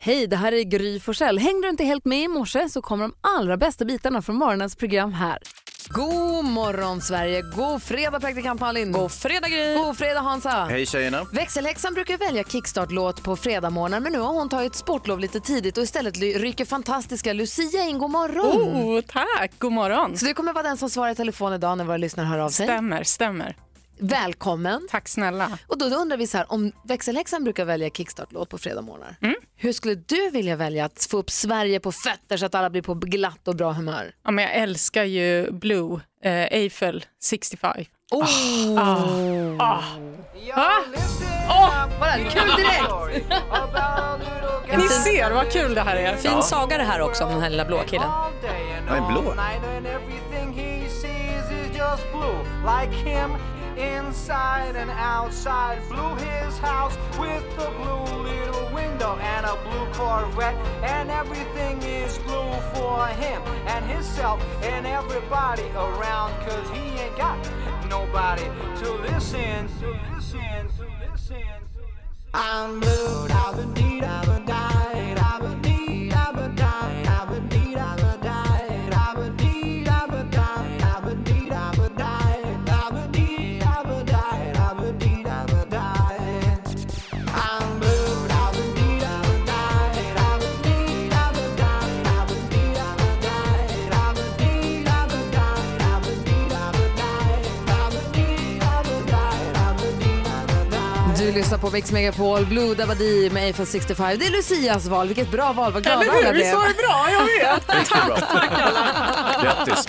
Hej, det här är Gry Forssell. Hängde du inte helt med i morse så kommer de allra bästa bitarna från morgonens program här. God morgon Sverige, god fredag praktikant Malin. God fredag Gry. God fredag Hansa. Hej tjejerna. Växelhäxan brukar välja kickstart-låt på fredagmorgnar men nu har hon tagit sportlov lite tidigt och istället ly- rycker fantastiska Lucia in. God morgon! Oh, tack! God morgon. Så du kommer vara den som svarar i telefon idag när våra lyssnare hör av sig. Stämmer, stämmer. Välkommen! Tack snälla. Och då undrar vi så här, om växelhäxan brukar välja kickstart-låt på fredagmorgnar, hur skulle du vilja välja att få upp Sverige på fötter så att alla blir på glatt och bra humör? Ja, men jag älskar ju Blue, eh, Eiffel 65. Oh. Ah! Oh, Bara kul direkt! Ni ser vad kul det här är. Fin saga det här också om den här lilla blå killen. Jag är blå. Du lyssnar på Mix Megapol, Blue Dabadi med Eiffel 65. Det är Lucias val, vilket bra val, vad glada Eller alla hur? blev. Visst var det bra? Jag vet. Riktigt bra. Grattis.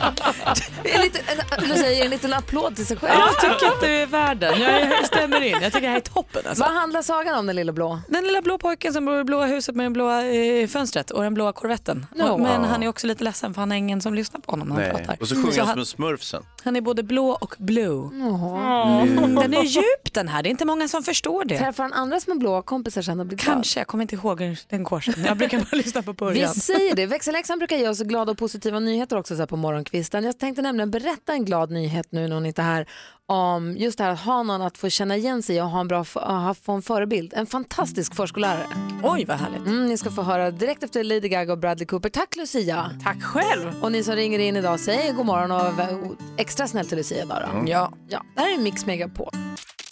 En liten, en, Lucia ger en liten applåd till sig själv. Jag tycker att du är världen. Jag är- stämmer in. Jag tycker det här är toppen alltså. Vad handlar sagan om den lilla blå? Den lilla blå pojken som bor i det blåa huset med det blåa eh, fönstret och den blåa korvetten. Och, men han är också lite ledsen för han har ingen som lyssnar på honom när han Nej. pratar. Och så sjunger Så jag som han, en smurf sen. han är både blå och blue. Mm. Den är djup den här. Det är inte många som förstår det. Träffar han andra som är blåa kompisar sen och blir glad? Kanske, jag kommer inte ihåg hur den går sen. Jag brukar bara lyssna på Vi början. säger det. Växelhäxan brukar ge oss glada och positiva nyheter också så här på morgonkvisten. Jag tänkte nämligen berätta en glad nyhet nu när hon inte är här om just det här att ha någon att få känna igen sig i och ha en bra f- ha- få en förebild. En fantastisk förskollärare. Oj vad härligt. Mm, ni ska få höra direkt efter Lady Gaga och Bradley Cooper. Tack Lucia! Tack själv. Och ni som ringer in idag säger god morgon och vä- extra snäll till Lucia idag då. Ja. Ja, det här är Mix Megapol.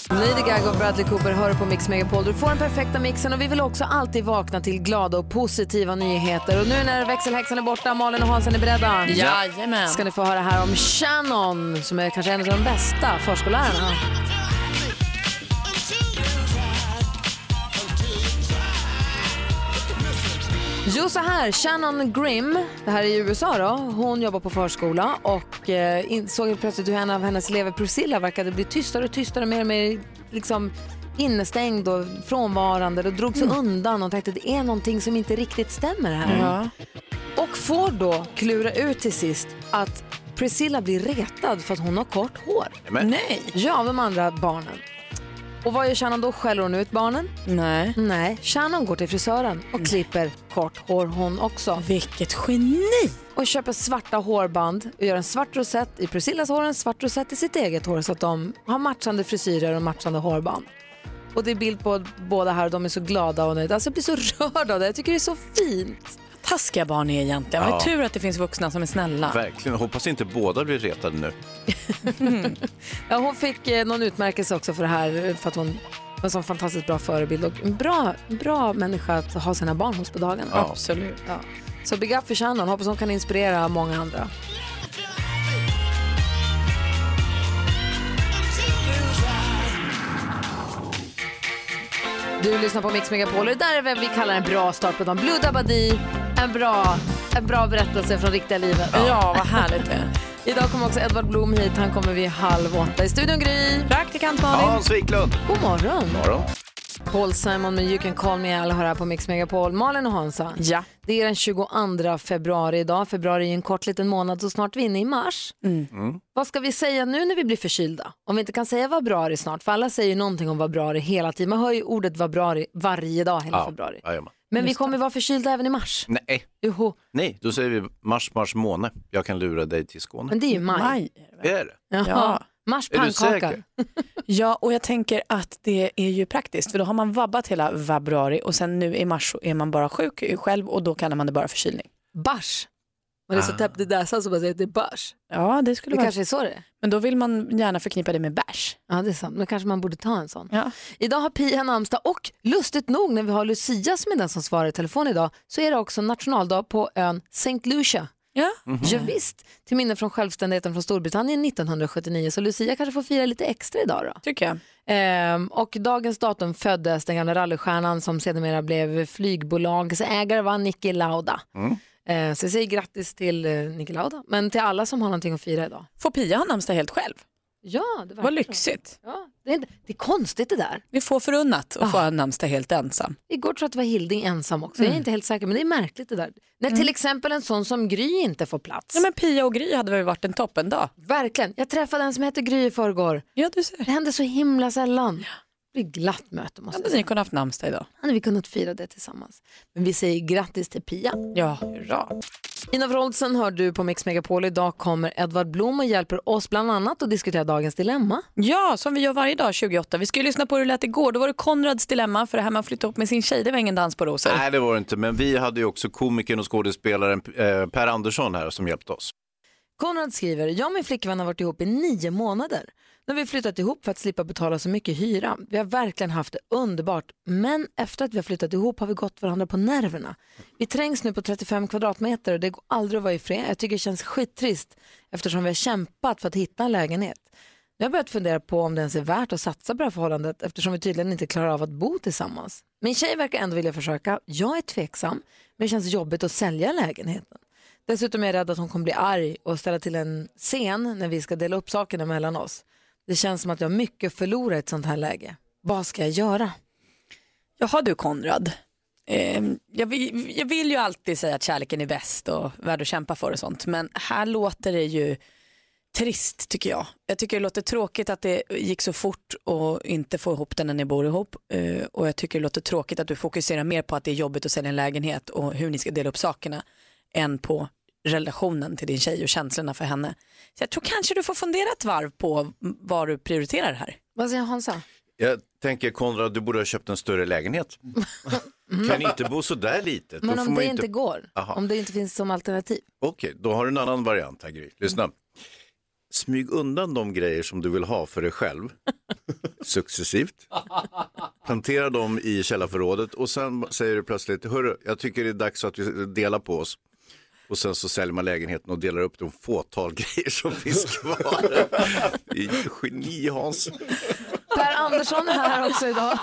Lady Gaga och Bradley Cooper hör på Mix Megapol. Du får den perfekta mixen och vi vill också alltid vakna till glada och positiva nyheter. Och nu när växelhäxan är borta, Malin och Hansen är beredda. Jajamän. Ska ni få höra här om Shannon som är kanske en av de bästa förskollärarna. Jo, så här. Shannon Grimm, det här är i USA då, hon jobbar på förskola och eh, insåg helt plötsligt hur en av hennes elever, Priscilla, verkade bli tystare och tystare, mer och mer liksom innestängd och frånvarande och drog sig undan och tänkte det är någonting som inte riktigt stämmer här. Och får då klura ut till sist att Priscilla blir retad för att hon har kort hår. Men, Nej. Ja, av de andra barnen. Och vad gör Shannon då? Skäller hon ut barnen? Nej. Nej, Shannon går till frisören och klipper kort hår hon också. Vilket geni. Och köper svarta hårband och gör en svart rosett i Priscillas hår och en svart rosett i sitt eget hår så att de har matchande frisyrer och matchande hårband. Och det är bild på båda här och de är så glada och nöjda. Alltså jag blir så rörd av det. Jag tycker det är så fint. taskiga barn är egentligen. Ja. Vad tur att det finns vuxna som är snälla. verkligen. Hoppas inte båda blir retade nu. Ja, hon fick eh, någon utmärkelse också för det här eh, för att hon var en sån fantastiskt bra förebild och en bra, bra människa att ha sina barn hos på dagarna. Ja. Absolut. Ja. Så big up för Shannon, hoppas hon kan inspirera många andra. Du lyssnar på Mix Megapol och det där är vad vi kallar en bra start på dagen. Blue Dabadi, en bra, en bra berättelse från riktiga livet. Ja, vad härligt det är. Idag kommer också Edvard Blom hit, han kommer vid halv åtta. I studion Gry, Praktikant Malin. Hans Wiklund. god morgon! Morgon. Paul Simon med You can call me Al har här på Mix Megapol. Malin och Hansa. Ja. Det är den 22 februari idag. Februari är ju en kort liten månad så snart vi är inne i mars. Mm. Vad ska vi säga nu när vi blir förkylda? Om vi inte kan säga vad bra det är snart, för alla säger ju någonting om vad bra det är hela tiden. Man hör ju ordet vad bra det är varje dag hela februari. jajamän. Men vi kommer vara förkylda även i mars. Nej. Joho. Nej, då säger vi mars, mars, måne. Jag kan lura dig till Skåne. Men det är ju maj. Maj. Är det? Ja. Ja. Mars Är du pannkaka. säker? Ja, och jag tänker att det är ju praktiskt för då har man vabbat hela februari och sen nu i mars så är man bara sjuk själv och då kallar man det bara förkylning. Bars. Man är Ah. så täppt i näsan så man säger att det är bars. Ja, det skulle Det vara. kanske är så det är. Men då vill man gärna förknippa det med bärs. Ja, det är sant. Men kanske man borde ta en sån. Ja. Idag har Pia namnsdag och lustigt nog när vi har Lucia som är den som svarar i telefon idag så är det också nationaldag på ön St. Lucia. Ja. Ja, visst, till minne från självständigheten från Storbritannien 1979 så Lucia kanske får fira lite extra idag då. Tycker jag. Ehm, och dagens datum föddes den gamla rallystjärnan som sedermera blev flygbolagets ägare, var Niki Lauda. Ehm, så jag säger grattis till eh, Niki Lauda, men till alla som har någonting att fira idag. Får Pia ha namnsdag helt själv? Ja, det var Vad lyxigt. Ja, det, är, inte- det är konstigt det där. Vi får förunnat att få ha namnsdag helt ensam. Igår tror jag att det var Hilding ensam också. Mm. Jag är inte helt säker, men det är märkligt det där. När till exempel en sån som Gry inte får plats. Ja, men Pia och Gry hade väl varit en toppen dag. Verkligen. Jag träffade en som heter Gry i förrgår. Ja, du ser. Det händer så himla sällan. Det blir glatt möte måste jag Hade säga. ni kunnat haft namnsdag idag? Hade vi kunnat fira det tillsammans. Men vi säger grattis till Pia. Ja, hurra. Ina Wroldsen hör du på Mix Megapol. Idag kommer Edvard Blom och hjälper oss bland annat att diskutera dagens dilemma. Ja, som vi gör varje dag 28. Vi ska ju lyssna på hur det lät igår. Då var det Konrads dilemma för det här med att flytta ihop med sin tjej, det var ingen dans på rosor. Nej, det var det inte. Men vi hade ju också komikern och skådespelaren eh, Per Andersson här som hjälpte oss. Konrad skriver, jag och min flickvän har varit ihop i nio månader. Nu har vi flyttat ihop för att slippa betala så mycket hyra. Vi har verkligen haft det underbart, men efter att vi har flyttat ihop har vi gått varandra på nerverna. Vi trängs nu på 35 kvadratmeter och det går aldrig att vara i fred. Jag tycker det känns skittrist eftersom vi har kämpat för att hitta en lägenhet. Jag har börjat fundera på om det ens är värt att satsa på det här förhållandet eftersom vi tydligen inte klarar av att bo tillsammans. Min tjej verkar ändå vilja försöka. Jag är tveksam, men det känns jobbigt att sälja lägenheten. Dessutom är jag rädd att hon kommer bli arg och ställa till en scen när vi ska dela upp sakerna mellan oss. Det känns som att jag har mycket att förlora i ett sånt här läge. Vad ska jag göra? Jaha du Konrad. Eh, jag, vill, jag vill ju alltid säga att kärleken är bäst och värd att kämpa för och sånt. Men här låter det ju trist tycker jag. Jag tycker det låter tråkigt att det gick så fort och inte få ihop det när ni bor ihop. Eh, och jag tycker det låter tråkigt att du fokuserar mer på att det är jobbigt att sälja en lägenhet och hur ni ska dela upp sakerna än på relationen till din tjej och känslorna för henne. Så jag tror kanske du får fundera ett varv på vad du prioriterar här. Vad säger Hansa? Jag tänker Konrad, du borde ha köpt en större lägenhet. Kan inte bo så där litet. Då Men får om man det ju inte går, Aha. om det inte finns som alternativ. Okej, då har du en annan variant här Gry. Lyssna. Smyg undan de grejer som du vill ha för dig själv successivt. Plantera dem i källarförrådet och sen säger du plötsligt, hörru, jag tycker det är dags att vi delar på oss. Och sen så säljer man lägenheten och delar upp de fåtal grejer som finns kvar. Det är Geni Hans. Per Andersson är här också idag.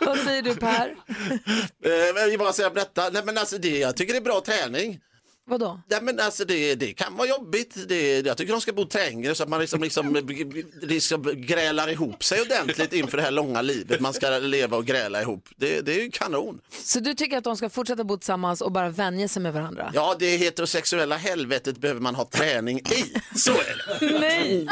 Vad säger du Per? Eh, men vad ska jag berätta? Nej, men alltså det, jag tycker det är bra träning. Vadå? Nej, men alltså det, det kan vara jobbigt. Det, jag tycker de ska bo trängre så att man liksom, liksom, liksom grälar ihop sig ordentligt inför det här långa livet man ska leva och gräla ihop. Det, det är ju kanon. Så du tycker att de ska fortsätta bo tillsammans och bara vänja sig med varandra? Ja, det heterosexuella helvetet behöver man ha träning i. Så är det. Nej!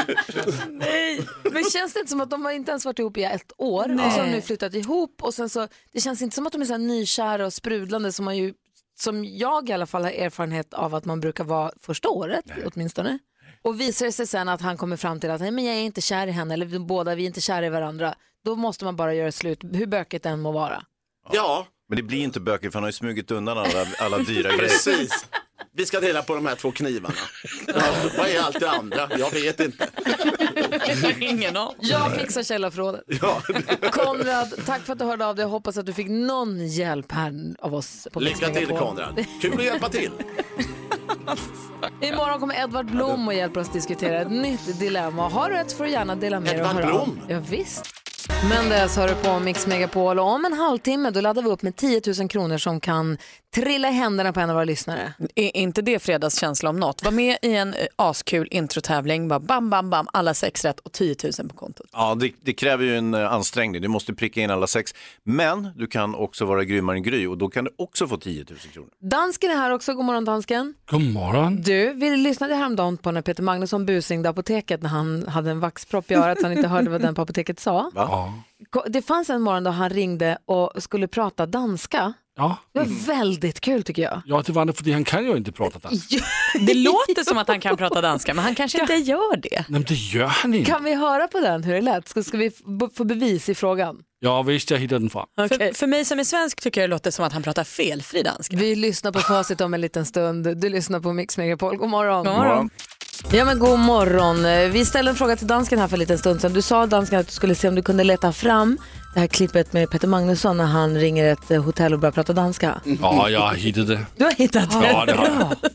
Nej! Men känns det inte som att de har inte ens varit ihop i ett år och så har de nu flyttat ihop och sen så, det känns inte som att de är så här nykära och sprudlande som man ju, som jag i alla fall har erfarenhet av att man brukar vara första året åtminstone. Och visar det sig sen att han kommer fram till att nej men jag är inte kär i henne eller vi båda vi är inte kära i varandra, då måste man bara göra slut hur bökigt det än må vara. Ja, Men det blir inte böcker för han har ju smugit undan alla, alla dyra grejer. precis. Vi ska dela på de här två knivarna. Ja, vad är allt det andra? Jag vet inte. Ingen aning. Jag fixar källarförrådet. Ja, Konrad, tack för att du hörde av dig. Jag hoppas att du fick någon hjälp här av oss. På Mix lycka till Megapol. Konrad. Kul att hjälpa till. Imorgon kommer Edvard Blom och hjälper oss diskutera ett nytt dilemma. Har du ett får du gärna dela med dig. och Edvard höra av. Blom? Ja, visst. Men det så hör du på Mix Megapol och om en halvtimme då laddar vi upp med 10 000 kronor som kan trilla i händerna på en av våra lyssnare. Är inte det fredagskänsla om något? Var med i en eh, askul introtävling, bara bam, bam, bam, alla sex rätt och 10 000 på kontot. Ja, det, det kräver ju en eh, ansträngning. Du måste pricka in alla sex. Men du kan också vara grymmare än Gry och då kan du också få 10 000 kronor. Dansken är här också. God morgon dansken. God morgon. Du, vi lyssnade häromdagen på när Peter Magnusson busringde apoteket när han hade en vaxpropp i örat så han inte hörde vad den på apoteket sa. Va? Ja. Ko- Det fanns en morgon då han ringde och skulle prata danska. Ja. Det Mm. var väldigt kul tycker jag. ja, det var det för han kan ju inte prata danska. Det låter som att han kan prata danska, men han kanske inte gör det. Nej, men det gör han inte. Kan vi höra på den hur det lät? Ska, ska vi f- b- få bevis i frågan? Ja, visst, jag hittade den fram. Okej. För, för mig som är svensk tycker jag det låter som att han pratar felfri danska. Vi lyssnar på facit om en liten stund. Du lyssnar på Mix Megapol. God morgon. God morgon. Ja, men god morgon. Eh, Vi ställde en fråga till dansken här för en liten stund sedan. Du sa dansken att du skulle se om du kunde leta fram det här klippet med Peter Magnusson när han ringer ett eh, hotell och börjar prata danska. Ja, jag hittade det. Du har hittat det. Mm. Ja, det har jag.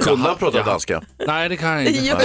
Kunde han prata danska? Nej, det kan jag inte. Jag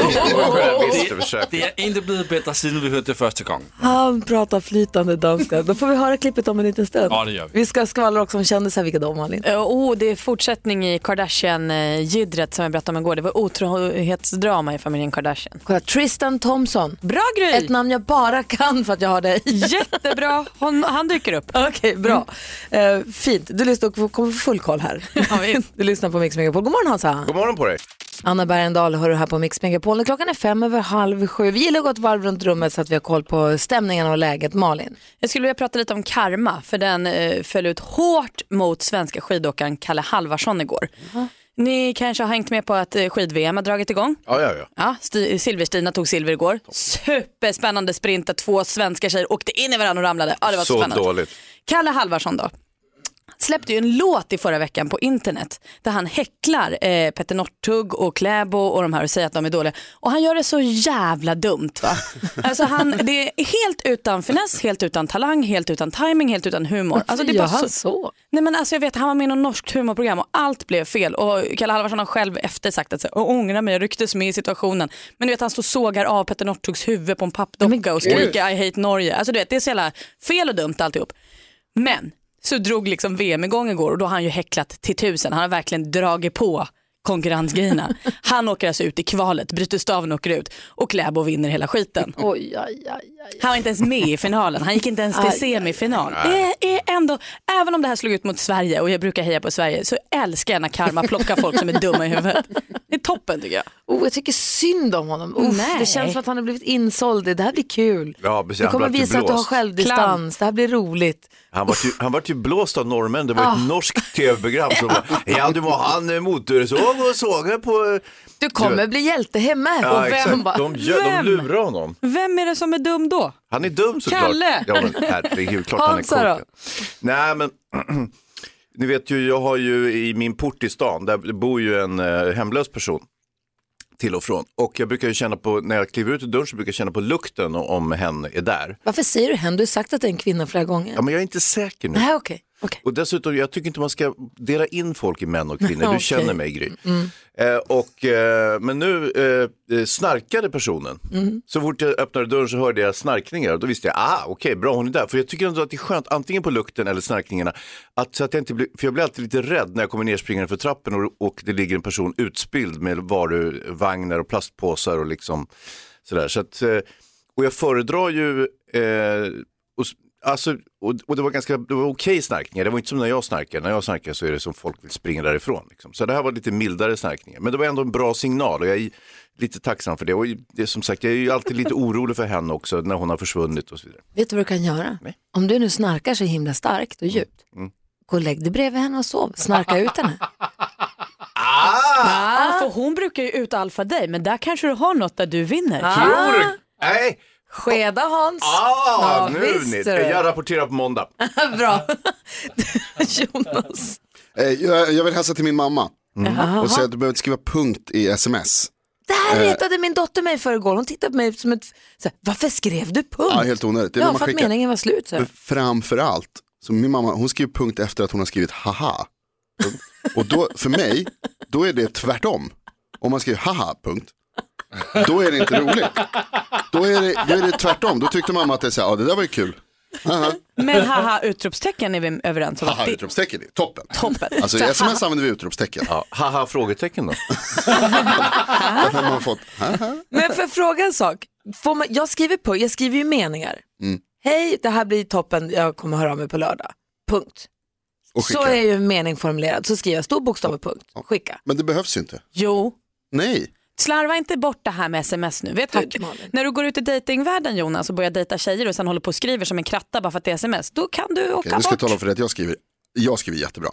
visste, försökte. Det är inte blivit bättre sedan vi hörde det första gången. Han pratar flytande danska. Då får vi höra klippet om en liten stund. Ja, det gör vi. Vi ska skvallra också om kändisar, vilka de var. Lin. Eh, Oh, det är fortsättning i Kardashian-jiddret som jag berättade om igår. Det var otrohetsdrama i familjen Kardashian. Kolla, Tristan Thompson. Bra Gry! Ett namn jag bara kan för att jag har det i. Jättebra, Hon, han dyker upp. Okej, bra. Mm. Eh, fint. Du lyssnar och kommer få full koll här. du lyssnar på Mix Megapol. God morgon Hansa. God morgon på dig. Anna Bergendahl hör du här på Mix Megapol. Och Klockan är fem över halv sju. Vi gillar att gå ett varv runt rummet så att vi har koll på stämningen och läget. Malin. Jag skulle vilja prata lite om karma, för den eh, föll ut hårt mot svenska skidåkaren Kalle Halvarsson igår. Ni kanske har hängt med på att eh, skid-VM har dragit igång. Ja, ja, ja. Ja, Sti- Silverstina tog silver igår. Superspännande sprint där två svenska tjejer åkte in i varandra och ramlade. Ja, det var Så spännande. dåligt. Kalle Halvarsson då. Släppte ju en låt i förra veckan på internet där han häcklar eh, Petter Northug och Kläbo och de här och säger att de är dåliga. Och han gör det så jävla dumt va. Alltså han, det är helt utan finess, helt utan talang, helt utan timing, helt utan humor. Alltså det är bara så, så? Nej men alltså jag vet, han var med i något norskt humorprogram och allt blev fel. Och Kalle Halvarsson har själv efter sagt att så här, "Jag ångrar mig, jag rycktes med i situationen. Men du vet han står och sågar av Petter Northugs huvud på en pappdocka och skriker I hate Norge. Alltså du vet, det är så jävla fel och dumt alltihop. Men så drog liksom VM igång igår och då har han ju häcklat till tusen. Han har verkligen dragit på konkurrensgrejerna. Han åker alltså ut i kvalet, bryter staven och åker ut och Kläbo vinner hela skiten. Oj, aj, aj, aj. Han var inte ens med i finalen, han gick inte ens till semifinal. Det är ändå, även om det här slog ut mot Sverige och jag brukar heja på Sverige så älskar jag när karma plockar folk som är dumma i huvudet. Det är toppen tycker jag. Oh, jag tycker synd om honom. Uff, Nej. det känns som att han har blivit insåld. i Det här blir kul. Ja, precis. du Han kommer blev visa att du har blåst. självdistans. Det här blir roligt. Han var, ju, han var ju blåst av norrmän, det var ett norskt tv-program som bara, ja du må ha en eh, motorsåg och såga på... Du kommer bli hjälte hemma. Ja, och vem exakt. bara, De, gör, vem? de lurar honom. Vem är det som är dum då? Han är dum såklart. Kalle! Ja, men herregud, klart han är Hansa då? korkad. Nej, men ni vet ju, jag har ju i min port i stan, där bor ju en eh, hemlös person till och från. Och jag brukar ju känna på, när jag kliver ut ur dörren så brukar jag känna på lukten och om hen är där. Varför säger du hen? Du har sagt att det är en kvinna flera gånger. Ja, men jag är inte säker nu. Nej, okej. okej. Och dessutom, jag tycker inte man ska dela in folk i män och kvinnor. Du Okej. känner mig Gry. Eh, och, eh, men nu eh, eh, snarkade personen. Så fort jag öppnade dörren så hörde jag snarkningar. Och då visste jag, ah, okej, bra hon är där. För jag tycker ändå att det är skönt, antingen på lukten eller snarkningarna. Att, så att jag inte blir, för jag blir alltid lite rädd när jag kommer nerspringande för trappen och, och det ligger en person utspilld med varuvagnar och plastpåsar och liksom sådär. Så att, eh, och jag föredrar ju, eh, och, s- alltså, och, och det var ganska, det var okej snarkningar, det var inte som när jag snarkar, när jag snarkar så är det som folk vill springa därifrån. Liksom. Så det här var lite mildare snarkningar, men det var ändå en bra signal och jag är lite tacksam för det. Och det, är som sagt, jag är ju alltid lite orolig för henne också när hon har försvunnit och så vidare. Vet du vad du kan göra? Nej. Om du nu snarkar så himla starkt Mm. och djupt, gå och lägg dig bredvid henne och sov. Snarka ut henne. Ah. för hon brukar ju utalfa dig men där kanske du har något där du vinner. Tror du? Nej, Skeda Hans. ah, Ja, nu visst, ni. du. Jag rapporterar på måndag. Bra. Jonas. Eh, Jag, jag vill hälsa till min mamma Mm. och säga att du behöver inte skriva punkt i sms. Det här Eh. retade min dotter mig för igår. Hon tittade på mig som ett... Så här, Varför skrev du punkt? Ja, helt onödigt. Det är när Mm. ja, man för att skickar. meningen var slut. Så. Men här. framför allt, så min mamma hon skriver punkt efter att hon har skrivit haha. Punkt. Och då, för mig, då är det tvärtom. Om man skriver haha, punkt, då är det inte roligt. Då är det, då är det tvärtom, då tyckte mamma att det, är så här, ja, det där var ju kul. Haha, Men haha utropstecken är vi överens om. att haha det- utropstecken, det är toppen. Toppen. Alltså i sms använder vi utropstecken. Ja, haha, frågetecken då. Där har man fått, haha. Men för fråga en sak. Får man, jag, skriver på, jag skriver ju meningar. Mm. Hej, det här blir toppen. Jag kommer höra av mig på lördag. Punkt. Och Så skicka. är ju en mening formulerad. Så skriver jag stor bokstav och punkt. Skicka. Men det behövs ju inte. Jo, Nej, Slarva inte bort det här med sms nu. Vet Tack, du, Malin. när du går ut i dejtingvärlden Jonas och börjar dejta tjejer och sen håller på och skriver som en kratta bara för att det är sms, då kan du åka Okej, nu ska jag bort. tala om för dig att jag skriver, jag skriver jättebra.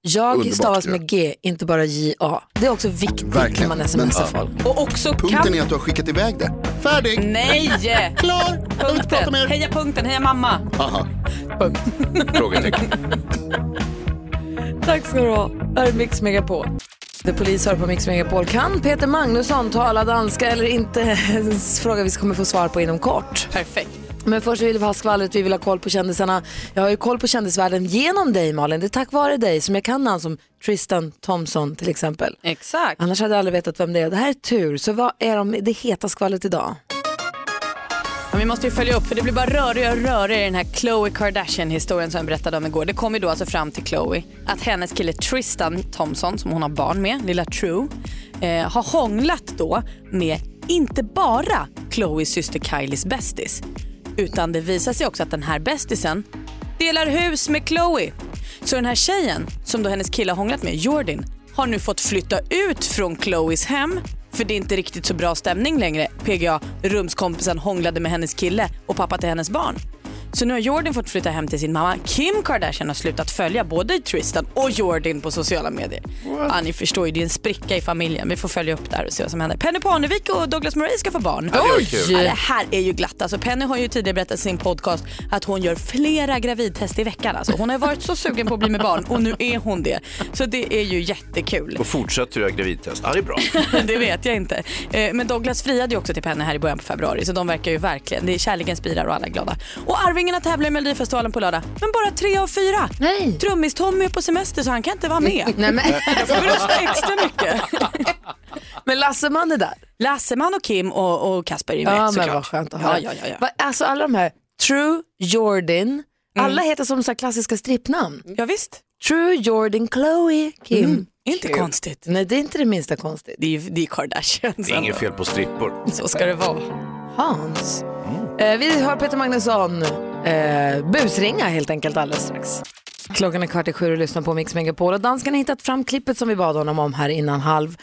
Jag Underbart, stavas tycker jag. med G, inte bara J-A. Det är också viktigt Verkligen, när man smsar men- folk. Och också Punkten kan... är att du har skickat iväg det. Färdig, Nej! klar, jag vill inte prata Mm. punkten. mer. Heja punkten, heja mamma. Aha. Frågetecken. Tack ska du ha. Här är Mix Megapol. The Police hör på Mix Megapol. Kan Peter Magnusson tala danska eller inte? En Fråga vi kommer få svar på inom kort. Perfekt. Men först vill vi ha skvallret, vi vill ha koll på kändisarna. Jag har ju koll på kändisvärlden genom dig Malin. Det är tack vare dig som jag kan namn som Tristan Thompson till exempel. Exakt. Annars hade jag aldrig vetat vem det är. Det här är tur. Så vad är de, det heta skvallret idag? Men vi måste ju följa upp för det blir bara rörigare och rörigare i den här Khloe Kardashian-historien som jag berättade om igår. Det kom ju då alltså fram till Khloe att hennes kille Tristan Thompson, som hon har barn med, lilla True, eh, har hånglat då med inte bara Khloes syster Kylies bästis. Utan det visar sig också att den här bästisen delar hus med Khloe. Så den här tjejen, som då hennes kille har hånglat med, Jordan, har nu fått flytta ut från Chloes hem för det är inte riktigt så bra stämning längre. PGA, rumskompisen hånglade med hennes kille och pappa till hennes barn. Så nu har Jordan fått flytta hem till sin mamma. Kim Kardashian har slutat följa både Tristan och Jordan på sociala medier. Ja, ni förstår ju, det är en spricka i familjen. Vi får följa upp där och se vad som händer. Penny Parnevik och Douglas Murray ska få barn. Ja, det här är ju glatt. Alltså, Penny har ju tidigare berättat i sin podcast att hon gör flera gravidtest i veckan. Alltså, hon har ju varit så sugen på att bli med barn och nu är hon det. Så det är ju jättekul. Och fortsätter du göra gravidtest? Ja, det är bra. Det vet jag inte. Eh, Men Douglas friade ju också till Penny här i början på februari så de verkar ju verkligen, det är kärleken spirar och alla är glada. Och Arvingarna tävlar i Melodifestivalen på lördag men bara tre av fyra. Nej. Trummis-Tommy är på semester så han kan inte vara med. Nej, men, Jag får rösta extra mycket. men Lasseman är där. Lasseman och Kim och, och Kasper är ju med Ja, men vad såklart. skönt att höra. Ja, ja, ja, Mm. ja. Va- Alltså alla de här, True, Jordan, alla heter som så här klassiska strippnamn. ja visst, True, Jordan, Chloe, Kim. inte Kul. konstigt. Nej, det är inte det minsta konstigt. Det är ju det är Kardashians. Det är inget fel på strippor. Så ska det vara. Hans. Mm. Eh, vi har Peter Magnusson eh, busringa helt enkelt alldeles strax. Klockan är kvart i sju och lyssnar på Mix Megapol och dansken har hittat fram klippet som vi bad honom om här innan halv.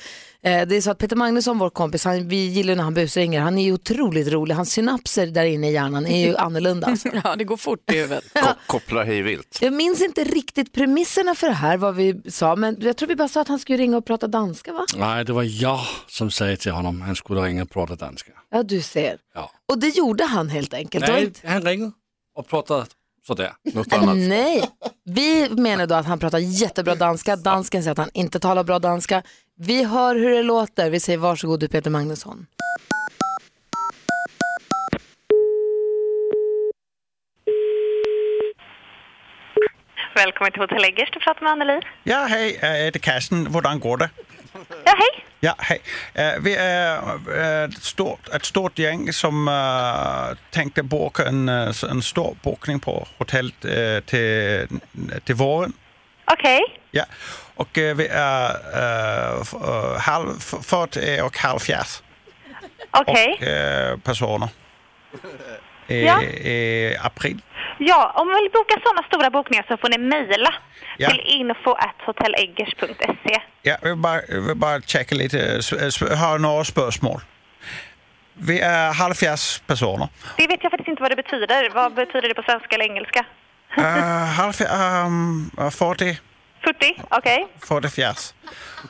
Eh, det är så att Peter Magnusson, vår kompis, han, vi gillar ju när han busringer. Han är ju otroligt rolig. Hans synapser där inne i hjärnan är ju annorlunda. Alltså. Ja, det går fort i huvudet. Ko kopplar hej vilt. Jag minns inte riktigt premisserna för det här, vad vi sa, men jag tror vi bara sa att han skulle ringa och prata danska, va? Nej, det var jag som sa till honom, han skulle ringa och prata danska. Ja, du ser. Ja. Och det gjorde han helt enkelt. Det var Nej, inte- han ringde och pratade sådär. Något annat. Nej, vi menar då att han pratar jättebra danska. Dansken säger att han inte talar bra danska. Vi hör hur det låter. Vi säger varsågod du Peter Magnusson. Välkommen till Hotell Eggers, du pratar med Anneli. Ja, hej, eh, det är Karsten. Hur går det? Ja, hej! Ja, hej. Eh, Vi är eh, ett stort, ett stort gäng som eh, tänkte boka en, eh, s- en stor bokning på hotellet eh, till, till våren. Okej. Ja. Och eh, vi är eh, f- eh, halv, f- 40 och halvfjerds Okej. eh, personer i, Ja. i april. Ja, om man vill boka sådana stora bokningar så får ni mejla Ja. till info.hotelleggers.se. Ja, vi vill bara, jag vill bara checka lite, s- s- øh, har några spörsmål. Vi är halvfjerds personer. Det vet jag faktiskt inte vad det betyder. Vad betyder det på svenska eller engelska? Uh, halv, um, 40, 40? Okej. 40 fjärs.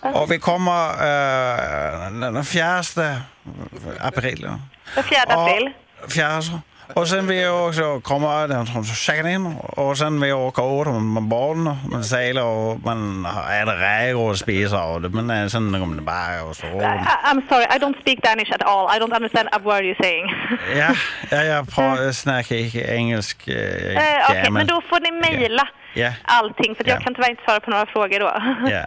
Och vi kommer eh, den fjärde april. Den 4 april? Och, fjärs. Och sen vi också kommer eh, den som checkar in och sen vi åker ut med barn. Man seglar och man äter räkor och spiser och det, men eh, sen kommer det bara och så. I- I'm sorry, I don't speak Danish at all. I don't understand a word you're saying. Ja, ja jag pratar, snackar inte engelsk. eh, Eh, Okej, gärna. men då får ni mejla Ja. allting för att Ja. jag kan tyvärr inte svara på några frågor då. Ja.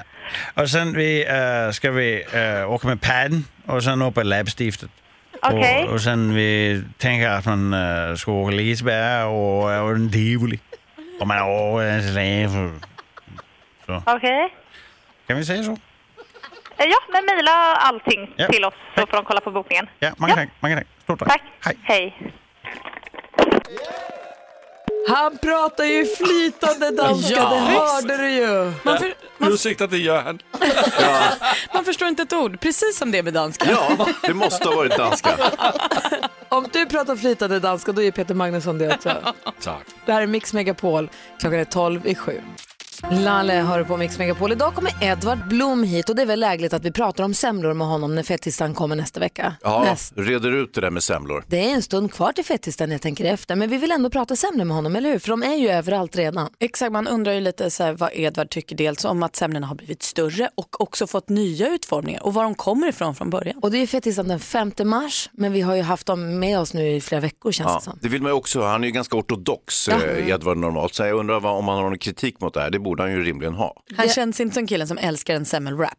Och sen vi, eh, ska vi eh, åka med padden och sen upp i läppstiftet. Okej. Och, och sen vi tänker att man eh, ska åka Liseberg och, och øh, en tivoli. Och man øh, åker en släv. Okej. Kan vi säga så? Eh, Ja, men mejla allting Ja. till oss så får de kolla på bokningen. Ja, många tack. Många tack. Stort tack. Tack. Hej. Hej. Han pratar ju flytande danska, Ja, det visst. hörde du ju. Man för, Ursäkta till Göran. Man förstår inte ett ord, precis som det är med danska. Ja, det måste ha varit danska. Om du pratar flytande danska då är Peter Magnusson det också. Tack. Det här är Mix Megapol. Klockan är 12 i sju. Lalle har du på Mix Megapol. Idag kommer Edvard Blom hit och det är väl lägligt att vi pratar om semlor med honom när fettisdagen kommer nästa vecka. Ja, Näst. reder ut det där med semlor. Det är en stund kvar till fettisdagen jag tänker efter men vi vill ändå prata semlor med honom, eller hur? För de är ju överallt redan. Exakt, man undrar ju lite så här, vad Edvard tycker dels om att semlorna har blivit större och också fått nya utformningar och var de kommer ifrån från början. Och det är ju fettisdagen den 5 mars men vi har ju haft dem med oss nu i flera veckor känns Ja, det som. det vill man ju också. ha. Han är ju ganska ortodox, ja. Edvard, normalt. Så jag undrar vad, om han har någon kritik mot det här. Det borde han ju rimligen ha. Han känns inte som killen som älskar en semmelwrap.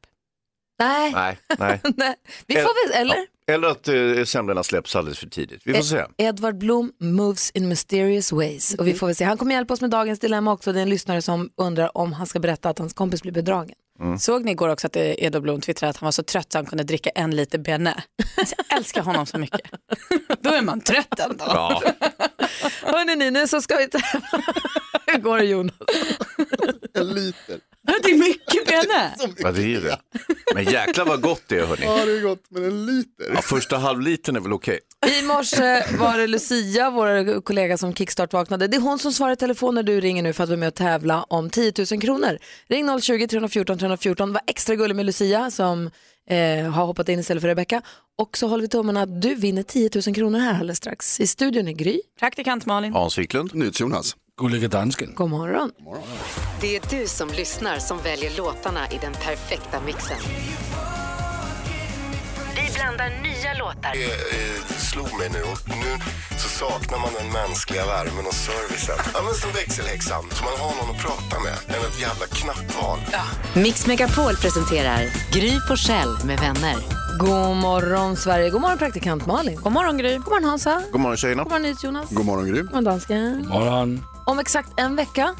Nej, Nej, nej. nej. vi får väl, eller? Ja. Eller att eh, semlorna släpps alldeles för tidigt. Vi får se. Edvard Blom moves in mysterious ways. Och vi får väl se. Han kommer hjälpa oss med dagens dilemma också. Det är en lyssnare som undrar om han ska berätta att hans kompis blir bedragen. Såg ni igår också att eh, Edvard Blom twittrade att han var så trött så han kunde dricka en liter bearnaise? Alltså, jag älskar honom så mycket. Då är man trött ändå. Ja. Hörrni ni, nu så ska vi tävla. Hur går det Jonas? En liter. Det är mycket bearnaise. Ja, det är ju det. Men jäklar vad gott det är, hörni. Ja, det är gott, men en liter. Ja, första halvlitern är väl okej. I morse var det Lucia, vår kollega som kickstart vaknade. Det är hon som svarar i telefon när du ringer nu för att vara med och tävla om 10 000 kronor. Ring 020-314 314. Var extra gullig med Lucia som eh, har hoppat in istället för Rebecca. Och så håller vi tummarna att du vinner 10 000 kronor här alldeles strax. I studion är Gry. Praktikant Malin. Hans Wiklund. NyhetsJonas. Gulliga dansken. God morgon. Det är du som lyssnar som väljer låtarna i den perfekta mixen. Vi blandar nya låtar. eh, slog mig nu och nu så saknar man den mänskliga värmen och servicen. Ja, men som växelhäxan, så man har någon att prata med. Än ett jävla knappval. Mix Megapol presenterar Gry Forssell med vänner. God morgon Sverige. God morgon praktikant Malin. God morgon Gry. God morgon Hansa. God God morgon tjejerna. morgon Nils Jonas. God God morgon Gry. morgon dansken. Morgon. Om exakt en vecka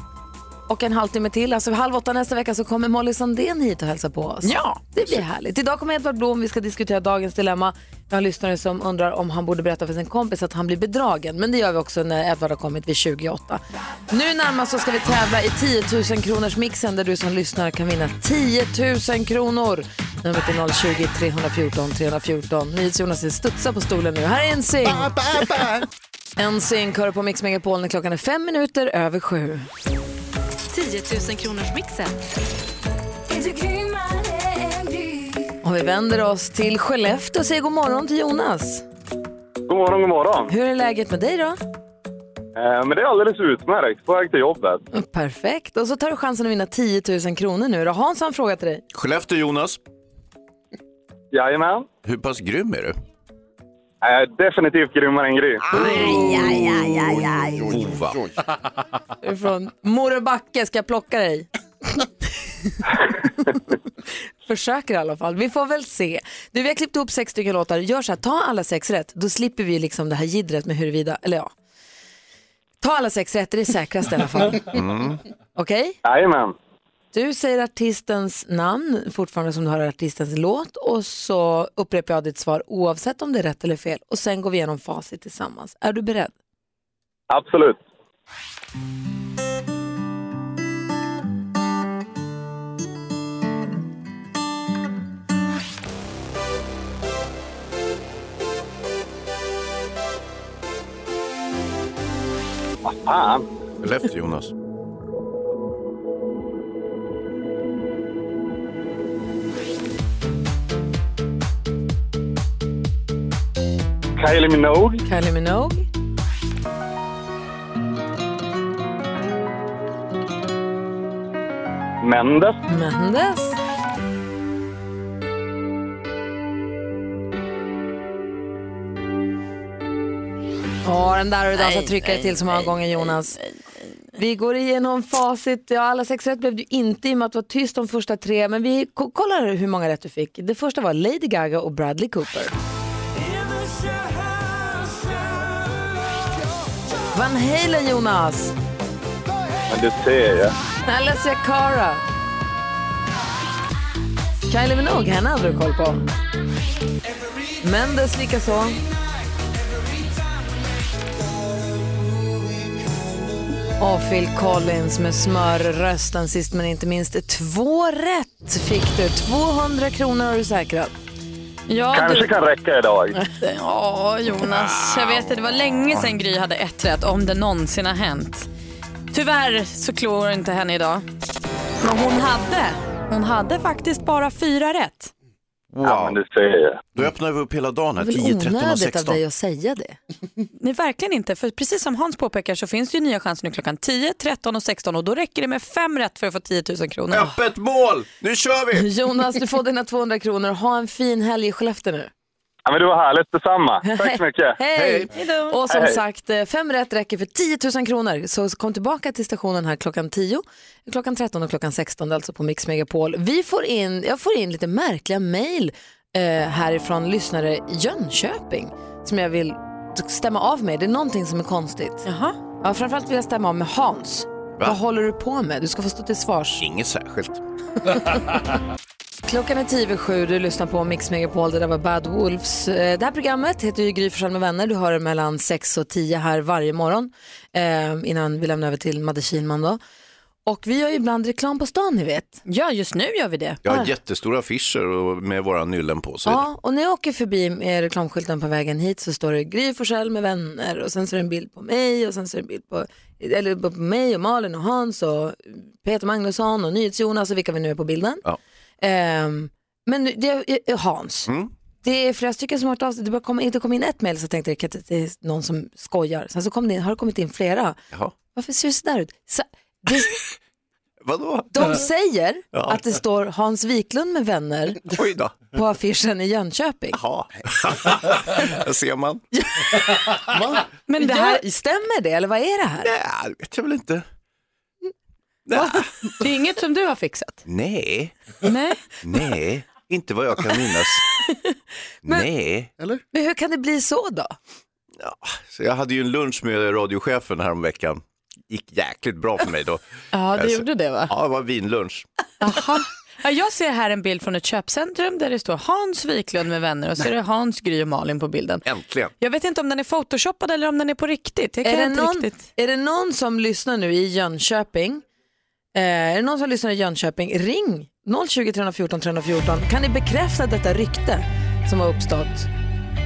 och en halvtimme till, alltså vid halv åtta nästa vecka så kommer Molly Sandén hit och hälsa på oss. Ja. Det blir härligt. Idag kommer Edvard Blom, vi ska diskutera dagens dilemma. Jag har en lyssnare som undrar om han borde berätta för sin kompis att han blir bedragen. Men det gör vi också när Edvard har kommit vid 28. Nu närmast så ska vi tävla i 10 000 kronors mixen där du som lyssnar kan vinna 10 000 kronor. Numret är 020 314 314. NyhetsJonas studsar på stolen nu. Här är en sing. NSYNC hör på Mix Megapol när klockan är fem minuter över sju. 10 000 kronors mixen. Och vi vänder oss till Skellefteå och säger god morgon till Jonas. God morgon, god morgon. Hur är läget med dig då? Eh, men det är alldeles utmärkt. På väg till jobbet. Perfekt. Och så tar du chansen att vinna 10 000 kronor nu då. Hans har en fråga till dig. Skellefteå Jonas. Jajamän. Hur pass grym är du? Eh, definitivt grymmare än Gry. Ova. Du är Från Mora Backe ska jag plocka dig. Försöker i alla fall. Vi får väl se. Du, vi har klippt ihop sex stycken låtar. Gör så här, ta alla sex rätt. Då slipper vi liksom det här jiddret med huruvida, eller ja. Ta alla sex rätt, det är säkrast i alla fall. Okej? Jajamän. Du säger artistens namn, fortfarande som du har artistens låt och så upprepar jag ditt svar oavsett om det är rätt eller fel och sen går vi igenom facit tillsammans. Är du beredd? Absolut. Vad fan? Skellefteå Jonas. Kylie Minogue? Kylie Minogue, Mendes? Mendes, Ja, den där har du dansat tryckare till så många gånger Jonas. Vi går igenom facit. Ja, alla sex rätt blev du inte i och med att du var tyst de första tre. Men vi ko- kollar hur många rätt du fick. Det första var Lady Gaga och Bradley Cooper. Van Halen Jonas. Men du ser ju. Alessia Cara. Kylie Minogue, henne hade du koll på. Mendes likaså. Och Phil Collins med smörrösten sist men inte minst. Två rätt fick du. 200 kronor har du säkrat. Ja, Kanske kan räcka idag. Ja, Jonas. Jag vet att det var länge sedan Gry hade ett rätt, om det någonsin har hänt. Tyvärr så klår inte henne idag. Men hon hade, hon hade faktiskt bara fyra rätt. Wow. Ja, men det ser jag. Då öppnar vi upp hela dagen här, Det är 10, väl 13 och onödigt av 16. dig att säga det. Nej, verkligen inte. För precis som Hans påpekar så finns det ju nya chanser nu klockan 10, 13 och 16 och då räcker det med fem rätt för att få 10 000 kronor. Öppet mål! Nu kör vi! Jonas, du får dina 200 kronor. Ha en fin helg i Skellefteå nu. Ja, men det var härligt detsamma. Tack så mycket. Hej! Och som Hej, hej. sagt, eh, fem rätt räcker för 10 000 kronor. Så kom tillbaka till stationen här klockan 10, klockan 13 och klockan 16, alltså på Mix Megapol. Vi får in, jag får in lite märkliga mejl eh, härifrån lyssnare i Jönköping som jag vill stämma av med. Det är någonting som är konstigt. Jaha. Ja, framförallt vill jag stämma av med Hans. Va? Vad håller du på med? Du ska få stå till svars. Inget särskilt. Klockan är tio över sju, du lyssnar på Mix Megapol, det där var Bad Wolves. Eh, Det här programmet heter ju Gry Forssell med vänner, du hör det mellan sex och tio här varje morgon eh, innan vi lämnar över till Madde Kihlman då. Och vi gör ju ibland reklam på stan ni vet. Ja, just nu gör vi det. Jag Ah. har jättestora affischer och med våra nyllen på sig. Ja, och när jag åker förbi med reklamskylten på vägen hit så står det Gry Forssell med vänner och sen så är det en bild på mig och sen så är det en bild på, eller på mig och Malin och Hans och Peter Magnusson och NyhetsJonas och vilka vi nu är på bilden. Ja. Ehm, men nu- det är Hans. Mm. Det är flera stycken som har hört av sig. Det bara kom, inte kom in ett mejl så tänkte jag att det är någon som skojar. Sen så kom det in, har det kommit in flera. Jaha. Varför ser det sådär ut? Så, det, Vadå? de säger Ja. att det står Hans Wiklund med vänner Oj då. på affischen i Jönköping. Jaha. Där ser man. Men det här, stämmer det eller vad är det här? Nej, det vet jag väl inte. Det är inget som du har fixat. Nej, Nej. nej, inte vad jag kan minnas. Nej. Eller? Men hur kan det bli så då? Så jag hade ju en lunch med radiochefen häromveckan. gick jäkligt bra för mig då. Ja, det Alltså, gjorde det va? Ja, det var vinlunch. Aha. Ja, jag ser här en bild från ett köpcentrum där det står Hans Wiklund med vänner och så är det Hans, Gry och Malin på bilden. Äntligen. Jag vet inte om den är photoshoppad eller om den är på riktigt. Jag kan Är det, inte någon, riktigt. är det någon som lyssnar nu i Jönköping? Eh, är det någon som lyssnar i Jönköping? Ring 020 314 314. Kan ni bekräfta detta rykte som har uppstått?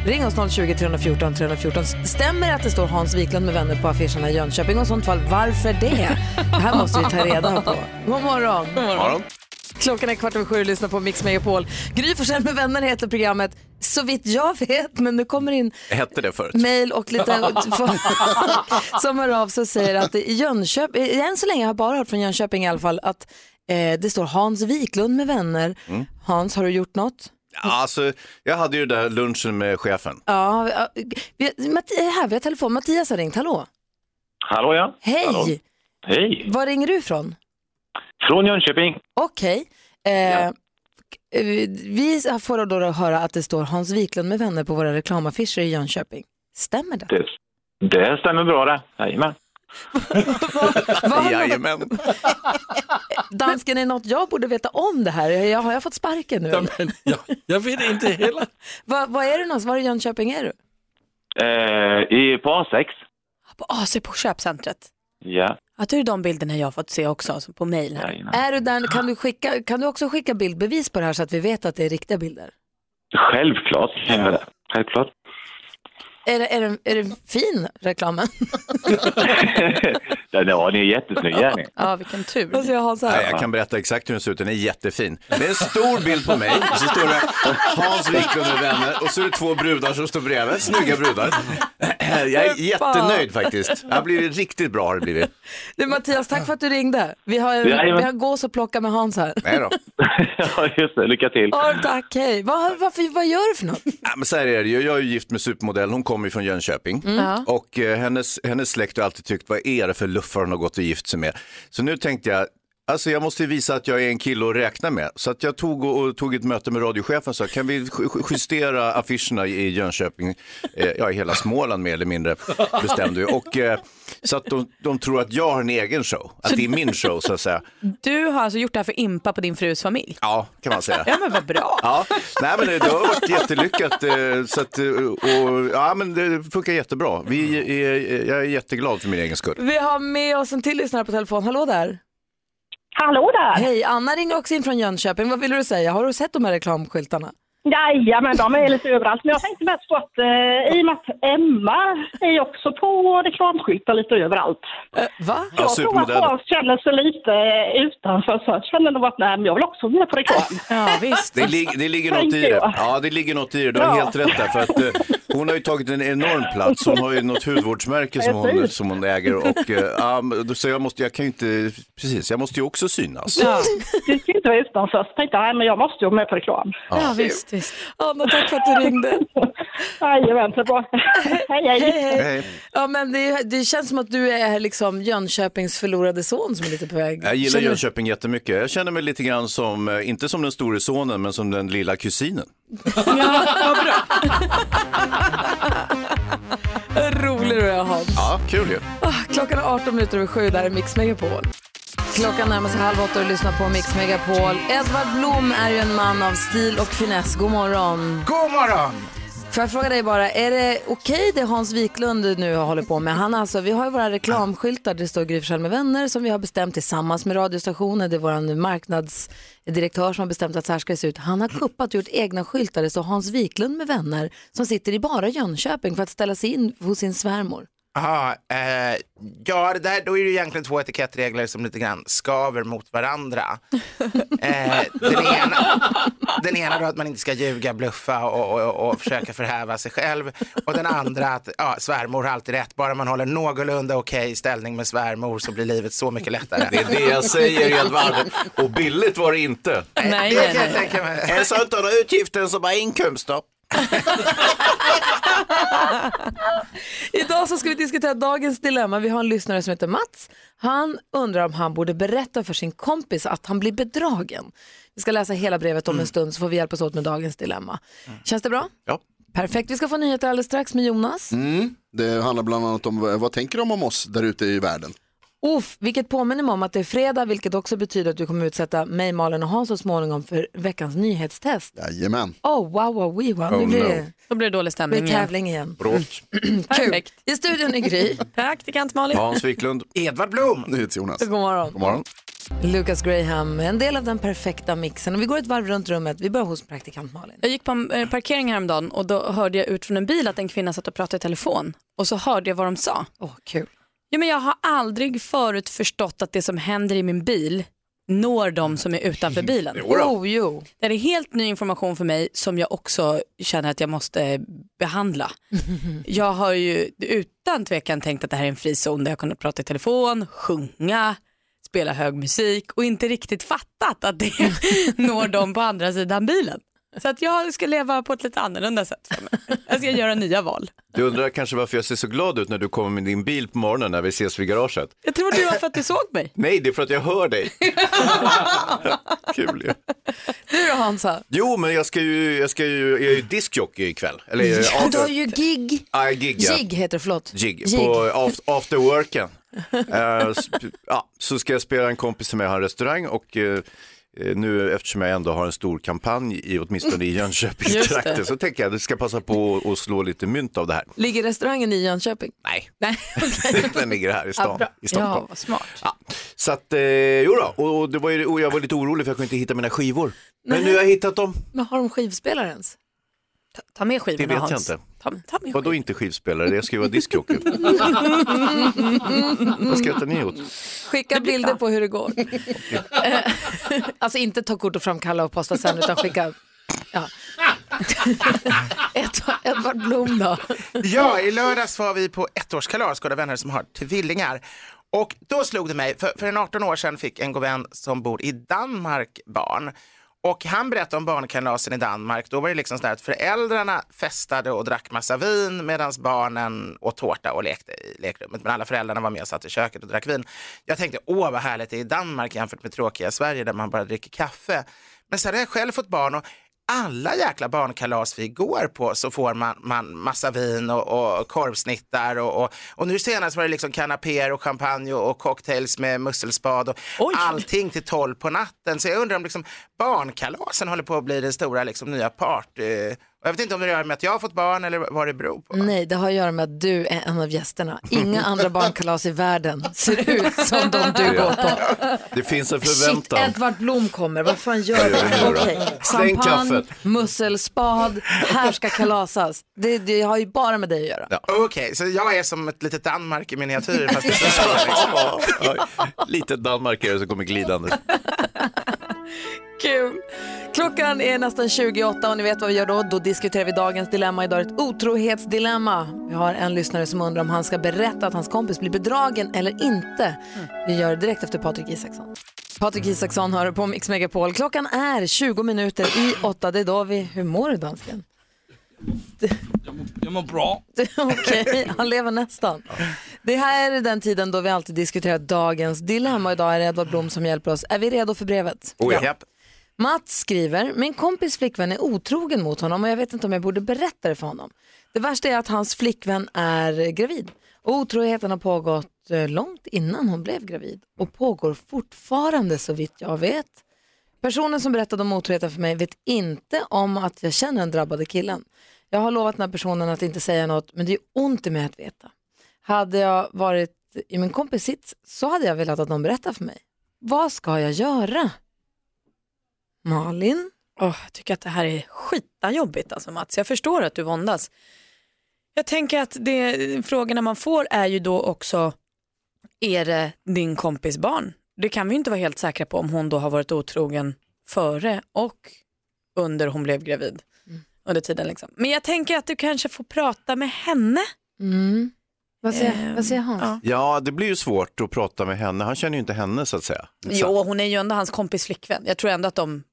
Ring oss 020 314 314. Stämmer det att det står Hans Wiklund med vänner på affischerna i Jönköping? Och i sånt fall, varför det? Det här måste vi ta reda på. God morgon. God morgon. Klockan är kvart över sju och lyssnar på Mix Megapol. Gry Forssell med vänner heter programmet, så vitt jag vet, men nu kommer in Hette det förut? mejl och lite folk som hör av sig och säger att i Jönköping, än så länge har jag bara hört från Jönköping i alla fall att eh, det står Hans Wiklund med vänner. Mm. Hans, har du gjort något? Ja, Alltså, jag hade ju den där lunchen med chefen. Ja, vi, vi, Matti- här, vi har telefon. Mattias har ringt, hallå? Hallå ja. Hej! Hallå. Hej. Var ringer du ifrån? Från Jönköping. Okej. Eh, eh, Vi får då höra att det står Hans Wiklund med vänner på våra reklamaffischer i Jönköping. Stämmer det? Det, det stämmer bra det. Jajamän. Jajamän. Dansken, är något jag borde veta om det här? Jag, har jag fått sparken nu? eller? Jag vet inte heller. Vad vad är du någonstans? Var i Jönköping är du? Eh, i, på A6. På AC på köpcentret. Ja. Att det är de bilderna jag har fått se också alltså på mejl här. Är du där, Ah. kan, du skicka, kan du också skicka bildbevis på det här så att vi vet att det är riktiga bilder? Självklart kan jag det. Självklart. Är, det- är, den- är den fin, reklamen? ja, ni är jättesnygga ni. Ja, vilken tur. Vad ska jag ha så Nej, här? jag kan berätta exakt hur den ser ut, den är jättefin. Det är en stor bild på mig, och så står det Hans Wiklund med vänner och så är det två brudar som står bredvid, snygga brudar. Jag är jättenöjd faktiskt. Det har blivit riktigt bra har det blivit. Du Mattias, tack för att du ringde. Vi har, Jajamän. vi har gås och plocka med Hans här. Nej då. ja, just det. Lycka till. Ja, tack, hej. Vad, varför, vad gör du för något? Ja, men så här är det ju, jag är ju gift med supermodellen, hon kommer ju från Jönköping. Mm. Ja. Och eh, hennes, hennes släkt har alltid tyckt, vad är det för luffar hon har gått och gift sig med? Så nu tänkte jag, Alltså jag måste ju visa att jag är en kille att räkna med. Så att jag tog, och, och tog ett möte med radiochefen och sa, kan vi ju- ju- justera affischerna i Jönköping, eh, ja i hela Småland mer eller mindre, bestämde vi. Och eh, så att de, de tror att jag har en egen show, att det är min show så att säga. Du har alltså gjort det här för impa på din frus familj? Ja, kan man säga. Ja men vad bra. Ja, nej men det det har varit jättelyckat. eh, Så att, eh, och, ja, men det funkar jättebra. Vi är, eh, jag är jätteglad för min egen skull. Vi har med oss en till lyssnare på telefon. Hallå där! Hallå där! Hej, Anna ringer också in från Jönköping. Vad vill du säga? Har du sett de här reklamskyltarna? Jajamän, de är lite överallt. Men jag tänkte mest på att eh, i och med att Emma är också på reklamskyltar lite överallt. Eh, va? Jag Ja, tror att supermodell. Hans känner sig lite utanför. Så jag känner nog att nej, men jag vill också vara med på reklam. ja, visst. Det, lig det ligger något i det. Ja, det ligger något i det. Du har Ja. helt rätt där. För att, eh, hon har ju tagit en enorm plats. Hon har ju något hudvårdsmärke som hon, Precis. som hon äger. Och, eh, ja, men- så jag, måste, jag kan ju inte, precis, jag måste ju också synas. Du ska inte vara utanför. Så tänkte jag, nej, men jag måste ju vara med på reklam. Ja. Ja, visst, visst. Anna, tack för att du ringde. Jajamän, så bra. Hej, hej. Ja, men det, det känns som att du är liksom Jönköpings förlorade son som är lite på väg. Jag gillar Känner du- Jönköping jättemycket. Jag känner mig lite grann som, eh, inte som den store sonen, men som den lilla kusinen. Rolig du är Hans. Ja, kul ju. Ah, Klockan är 18 minuter över sju, där är Mix Megapol. Klockan närmar sig halv åtta och du lyssnar på Mix Megapol. Edvard Blom är ju en man av stil och finess. God morgon! God morgon! Får jag fråga dig bara, är det okej det Hans Wiklund nu håller på med? Han alltså, vi har ju våra reklamskyltar där det står Gry Forssell med vänner som vi har bestämt tillsammans med radiostationen. Det är vår marknadsdirektör som har bestämt att så här ska det se ut. Han har kuppat och gjort egna skyltar där det står Hans Wiklund med vänner som sitter i bara Jönköping för att ställa sig in hos sin svärmor. Ah, eh, ja, det där, då är det ju egentligen två etikettregler som lite grann skaver mot varandra. Eh, den, ena, den ena då att man inte ska ljuga, bluffa och, och, och, och försöka förhäva sig själv. Och den andra att ja, svärmor har alltid rätt, bara man håller någorlunda okej ställning med svärmor så blir livet så mycket lättare. Det är det jag säger Edvard. Och billigt var det inte. Nej, det nej, kan jag nej. tänka mig. En sån tar utgiften som är inkomster. Idag så ska vi diskutera dagens dilemma. Vi har en lyssnare som heter Mats. Han undrar om han borde berätta för sin kompis att han blir bedragen. Vi ska läsa hela brevet Mm. om en stund så får vi hjälpas åt med dagens dilemma. Känns det bra? Ja. Perfekt. Vi ska få nyheter alldeles strax med Jonas. Mm. Det handlar bland annat om vad, vad tänker de om oss där ute i världen? Uff, vilket påminner mig om att det är fredag, vilket också betyder att du kommer utsätta mig, Malin och Hans så småningom för veckans nyhetstest. Jajamän. Oh, wow, wow, wee, wow. nu Oh, blir no. det Då blir det dålig blir stämning det tävling igen. Bråk. Kul. I studion är Gry. Praktikant Malin. Hans Wiklund. Edvard Blom. Jonas. God morgon. God morgon. Lucas Graham, en del av den perfekta mixen. Och vi går ett varv runt rummet. Vi börjar hos praktikant Malin. Jag gick på en eh, parkering häromdagen och då hörde jag ut från en bil att en kvinna satt och pratade i telefon och så hörde jag vad de sa. Åh, kul. Ja, men jag har aldrig förut förstått att det som händer i min bil når de som är utanför bilen. Jo då. Oh, jo. Det är helt ny information för mig som jag också känner att jag måste behandla. Jag har ju utan tvekan tänkt att det här är en frizon där jag kunde prata i telefon, sjunga, spela hög musik och inte riktigt fattat att det når dem på andra sidan bilen. Så att jag ska leva på ett lite annorlunda sätt. För mig. Jag ska göra nya val. Du undrar kanske varför jag ser så glad ut när du kommer med din bil på morgonen när vi ses vid garaget. Jag tror det var för att du såg mig. Nej, det är för att jag hör dig. Kul ju. Du då Hansa? Jo, men jag ska ju, jag ska ju, jag är ju diskjockey ikväll. Eller Ja, du har after, ju gig. ah, gig, ja. Jig heter det, förlåt. Jig. Jig. På af- after worken. Eh, sp- ja, så ska jag spela en kompis som jag har en restaurang och eh, eh, nu eftersom jag ändå har en stor kampanj i åtminstone i Just Jönköpingstrakten det. så tänker jag att jag ska passa på att slå lite mynt av det här. Ligger restaurangen i Jönköping? Nej. Nej. Den ligger här i Ja, stan. bra. I Stockholm. Ja, vad smart. Ja, så att, eh, jo då, och, och det var ju, och jag var lite orolig för jag kunde inte hitta mina skivor. Men nu har jag hittat dem. Men har de skivspelare ens? Ta, ta med Det skivorna vet Hans. jag inte. Ta, ta med Vadå inte skivspelare? Jag ska ju vara diskjockey. Vad skrattar ni åt? Skicka bilder på hur det går. Eh, alltså inte ta kort och framkalla och posta sen utan skicka... Ja. Edvard- Edvard Blom då? Ja, i lördags var vi på ettårskalas, goda vänner som har tvillingar. Och då slog det mig, för, för en 18 år sedan fick en god vän som bor i Danmark barn. Och han berättade om barnkalasen i Danmark. Då var det liksom så här att föräldrarna festade och drack massa vin medan barnen åt tårta och lekte i lekrummet. Men alla föräldrarna var med och satt i köket och drack vin. Jag tänkte, åh vad härligt det är i Danmark jämfört med tråkiga Sverige där man bara dricker kaffe. Men sen har jag själv fått barn och alla jäkla barnkalas vi går på så får man, man massa vin och, och korvsnittar och, och, och nu senast var det liksom kanapéer och champagne och cocktails med musselspad och allting till tolv på natten. Så jag undrar om liksom barnkalasen håller på att bli den stora liksom nya party. Och jag vet inte om det gör med att jag har fått barn eller vad det beror på. Nej, det har att göra med att du är en av gästerna. Inga andra barnkalas i världen ser ut som de du går på. Det finns en Shit, förväntan. Edvard Blom kommer. Vad fan gör Vad gör vi du? nu då? Okej, Släng champagne, kaffet. musselspad, här ska kalasas. Det, det har ju bara med dig att göra. Okej, så jag är som ett litet Danmark i miniatyr fast i Sverige. Ja, Liksom. Lite danmarkare som kommer glidande. Kul! Klockan är nästan 28 och ni vet vad vi gör då. Då diskuterar vi dagens dilemma. Idag är det ett otrohetsdilemma. Vi har en lyssnare som undrar om han ska berätta att hans kompis blir bedragen eller inte. Vi gör det direkt efter Patrik Isaksson. Patrik Isaksson hör på Mix Megapol. Klockan är 20 minuter i åtta. Det är då vi... Hur mår du dansken? Jag mår bra. Okej, han lever nästan. Det här är den tiden då vi alltid diskuterar dagens dilemma. Idag är det Edvard Blom som hjälper oss. Är vi redo för brevet? Mats skriver, min kompis flickvän är otrogen mot honom och jag vet inte om jag borde berätta det för honom. Det värsta är att hans flickvän är gravid. Och otroheten har pågått eh, långt innan hon blev gravid och pågår fortfarande så vitt jag vet. Personen som berättade om otroheten för mig vet inte om att jag känner den drabbade killen. Jag har lovat den här personen att inte säga något men det är ont i mig att veta. Hade jag varit i min kompis sits så hade jag velat att någon berättar för mig. Vad ska jag göra? Malin? Åh, jag tycker att det här är skitjobbigt alltså Mats. Jag förstår att du våndas. Jag tänker att det, frågorna man får är ju då också, är det din kompis barn? Det kan vi ju inte vara helt säkra på om hon då har varit otrogen före och under hon blev gravid. Under tiden liksom. Men jag tänker att du kanske får prata med henne. Mm. Vad säger, vad säger Hans? Ja, det blir ju svårt att prata med henne. Han känner ju inte henne så att säga. Jo, hon är ju ändå hans kompis flickvän. Jag tror ändå att de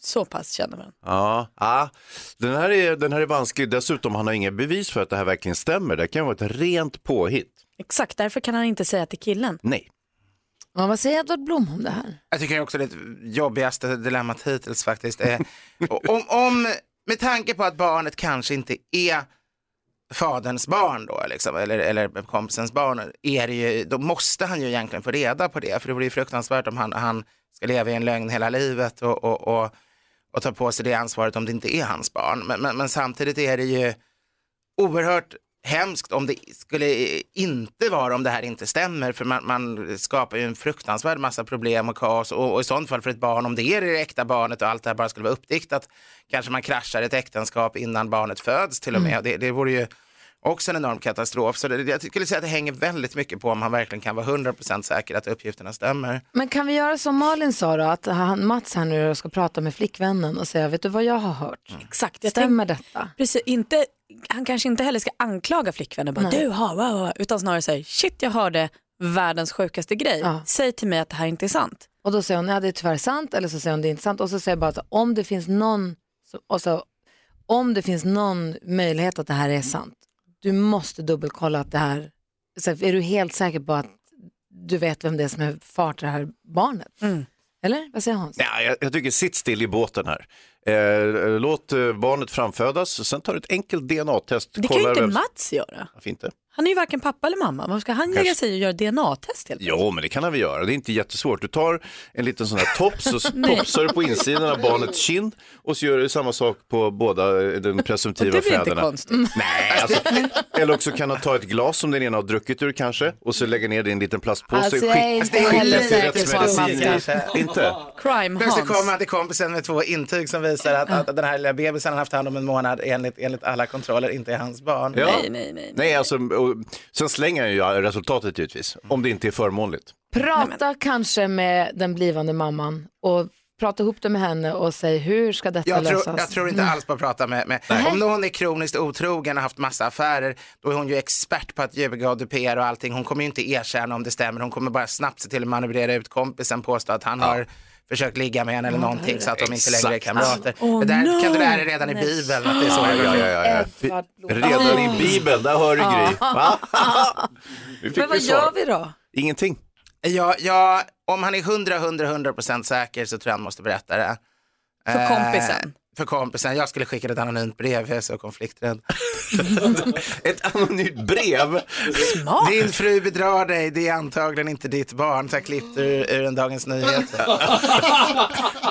så pass känner varandra. Ja, ja. Den, här är, den här är vansklig. Dessutom, han har inga bevis för att det här verkligen stämmer. Det kan vara ett rent påhitt. Exakt, därför kan han inte säga till killen. Nej. Ja, vad säger Edvard Blom om det här? Jag tycker också det är det jobbigaste dilemmat hittills faktiskt. Eh, och om, om, med tanke på att barnet kanske inte är faderns barn då, liksom, eller, eller kompisens barn, är det ju, då måste han ju egentligen få reda på det. För det vore ju fruktansvärt om han, han ska leva i en lögn hela livet och, och, och, och ta på sig det ansvaret om det inte är hans barn. Men, men, men samtidigt är det ju oerhört hemskt om det skulle inte vara om det här inte stämmer för man, man skapar ju en fruktansvärd massa problem och kaos och, och i sånt fall för ett barn om det är det äkta barnet och allt det här bara skulle vara uppdiktat kanske man kraschar ett äktenskap innan barnet föds till och med. Det, det vore ju också en enorm katastrof så det, jag skulle säga att det hänger väldigt mycket på om han verkligen kan vara 100% säker att uppgifterna stämmer. Men kan vi göra som Malin sa då, att han, Mats här nu ska prata med flickvännen och säga, vet du vad jag har hört? Exakt, jag Stämmer detta? Precis, inte, han kanske inte heller ska anklaga flickvännen bara, Nej. du har, wow, wow, utan snarare säga shit jag hörde världens sjukaste grej, säg till mig att det här inte är sant. Och då säger hon, ja det är tyvärr sant, eller så säger hon det är inte sant. Och så säger jag bara att om det finns någon, som- och så, om det finns någon möjlighet att det här är sant, du måste dubbelkolla att det här, så här, är du helt säker på att du vet vem det är som är far till det här barnet? Eller vad säger Hans? Ja, jag, jag tycker sitt still i båten här. Eh, låt eh, barnet framfödas, sen tar du ett enkelt DNA-test. Det kan ju kollar inte vem- Mats göra. Varför inte? Han är ju varken pappa eller mamma, varför ska han lägga sig i och göra DNA-test helt Jo, men det kan han väl göra. Det är inte jättesvårt. Du tar en liten sån här tops och s- Nej. topsar du på insidan av barnets kind och så gör du samma sak på båda eh, den presumtiva Det blir inte fäderna. konstigt. Nej, alltså, eller också kan han ta ett glas som den ena har druckit ur kanske och så lägga ner det i en liten plastpåse. Alltså, jag är inte skicka heller till säker på att man rättsmedicin. ska- Inte? Crime Plötsligt Hans. kommer han till kompisen med två intyg som visar att, att den här lilla bebisen han haft hand om en månad enligt, enligt alla kontroller inte är hans barn. Ja. Nej, alltså, och, sen slänger han ju resultatet givetvis, om det inte är förmånligt. Prata kanske med den blivande mamman och prata ihop det med henne och säg hur ska detta Jag lösas? tror, jag tror Mm. inte alls på att prata med, med. om någon är kroniskt otrogen och haft massa affärer, då är hon ju expert på att ljuga och dupera och allting. Hon kommer ju inte erkänna om det stämmer, hon kommer bara snabbt se till att manövrera ut kompisen, påstå att han har försökt ligga med henne eller någonting så att de inte längre är Exakt. kamrater. Åh, det där kan du lära dig no. redan i Nej. Bibeln. Att det är så Ja, det ja, går ja, ja. till. Redan i Bibeln, där hör du Gry. Va? Nu fick Men vad vi svar. gör vi då? Ingenting. Ja, ja, om han är 100, 100, 100 procent säker så tror jag han måste berätta det. För Eh, kompisen. För kompisen. Jag skulle skicka ett anonymt brev, jag är så konflikträdd. ett anonymt brev? Smart. Din fru bedrar dig, det är antagligen inte ditt barn. Så jag klippte ur, ur en Dagens Nyheter.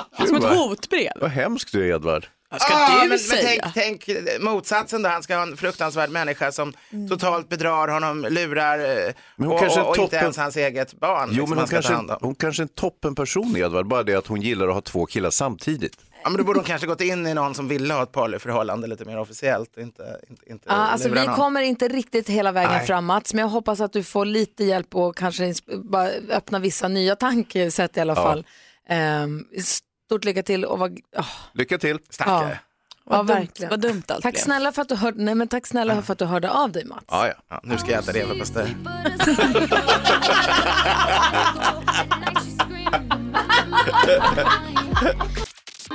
Som ett hotbrev. Vad hemskt du är, Edvard. Ah, Ja, du Ah, men, säga? Men tänk, tänk motsatsen då, han ska ha en fruktansvärd människa som Mm. totalt bedrar honom, lurar eh, Men hon och, kanske är och, och inte toppen- ens hans eget barn. liksom. Jo, men hon han ska ta Liksom, kanske, hand om. hon kanske är en toppenperson, Edvard. Bara det att hon gillar att ha två killar samtidigt. Ja, men då borde hon kanske gått in i någon som ville ha ett parförhållande lite mer officiellt. Inte, inte, inte Ja, alltså, lura vi någon. kommer inte riktigt hela vägen Nej. fram Mats, men jag hoppas att du får lite hjälp och kanske ins- bara öppna vissa nya tankesätt i alla Ja. fall. Ehm, stort lycka till och vad... ah, Lycka till. Stackare. ja, dumt- verkligen. vad dumt allt tack blev. snälla för att du hörde, nej, men tack snälla för att du hörde av dig Mats. Ja, ja. nu ska jag äta leverpastej.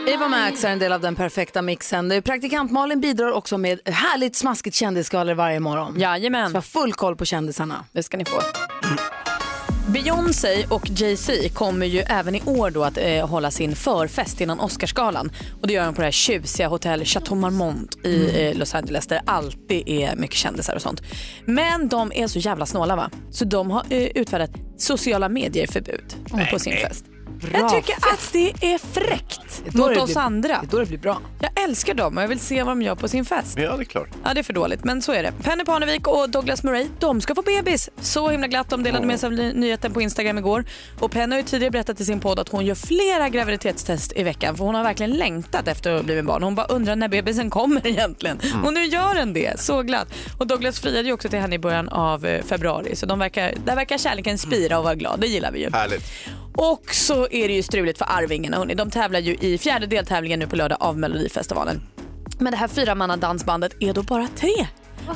Eva Max är en del av den perfekta mixen. Praktikant Malin bidrar också med härligt smaskigt kändisskvaller varje morgon. Jajamän. Så jag har full koll på kändisarna. Det ska ni få. Beyoncé och Jay-Z kommer ju även i år då att eh, hålla sin förfest innan Oscarsgalan. Och det gör de på det här tjusiga hotell Chateau Marmont Mm. i eh, Los Angeles där det alltid är mycket kändisar och sånt. Men de är så jävla snåla va? Så de har eh, utfärdat sociala medier-förbud på sin fest. Jag tycker att det är fräckt då mot det oss blir- andra. Det är då det blir bra. Jag älskar dem och jag vill se vad de gör på sin fest. Ja, det är klart. Ja, det är för dåligt, men så är det. Penny Parnevik och Douglas Murray, de ska få bebis. Så himla glatt. De delade med sig av ny- nyheten på Instagram igår. Och Penny har ju tidigare berättat i sin podd att hon gör flera graviditetstest i veckan för hon har verkligen längtat efter att bli med barn. Hon bara undrar när bebisen kommer egentligen. Mm. Och nu gör den det. Så glatt. Och Douglas friade ju också till henne i början av eh, februari. Så de verkar, där verkar kärleken spira och vara glad. Det gillar vi ju. Härligt. Och så är det ju struligt för Arvingarna. hörni. De tävlar ju i fjärde deltävlingen nu på lördag av Melodifestivalen. Men det här fyramannadansbandet är då bara tre.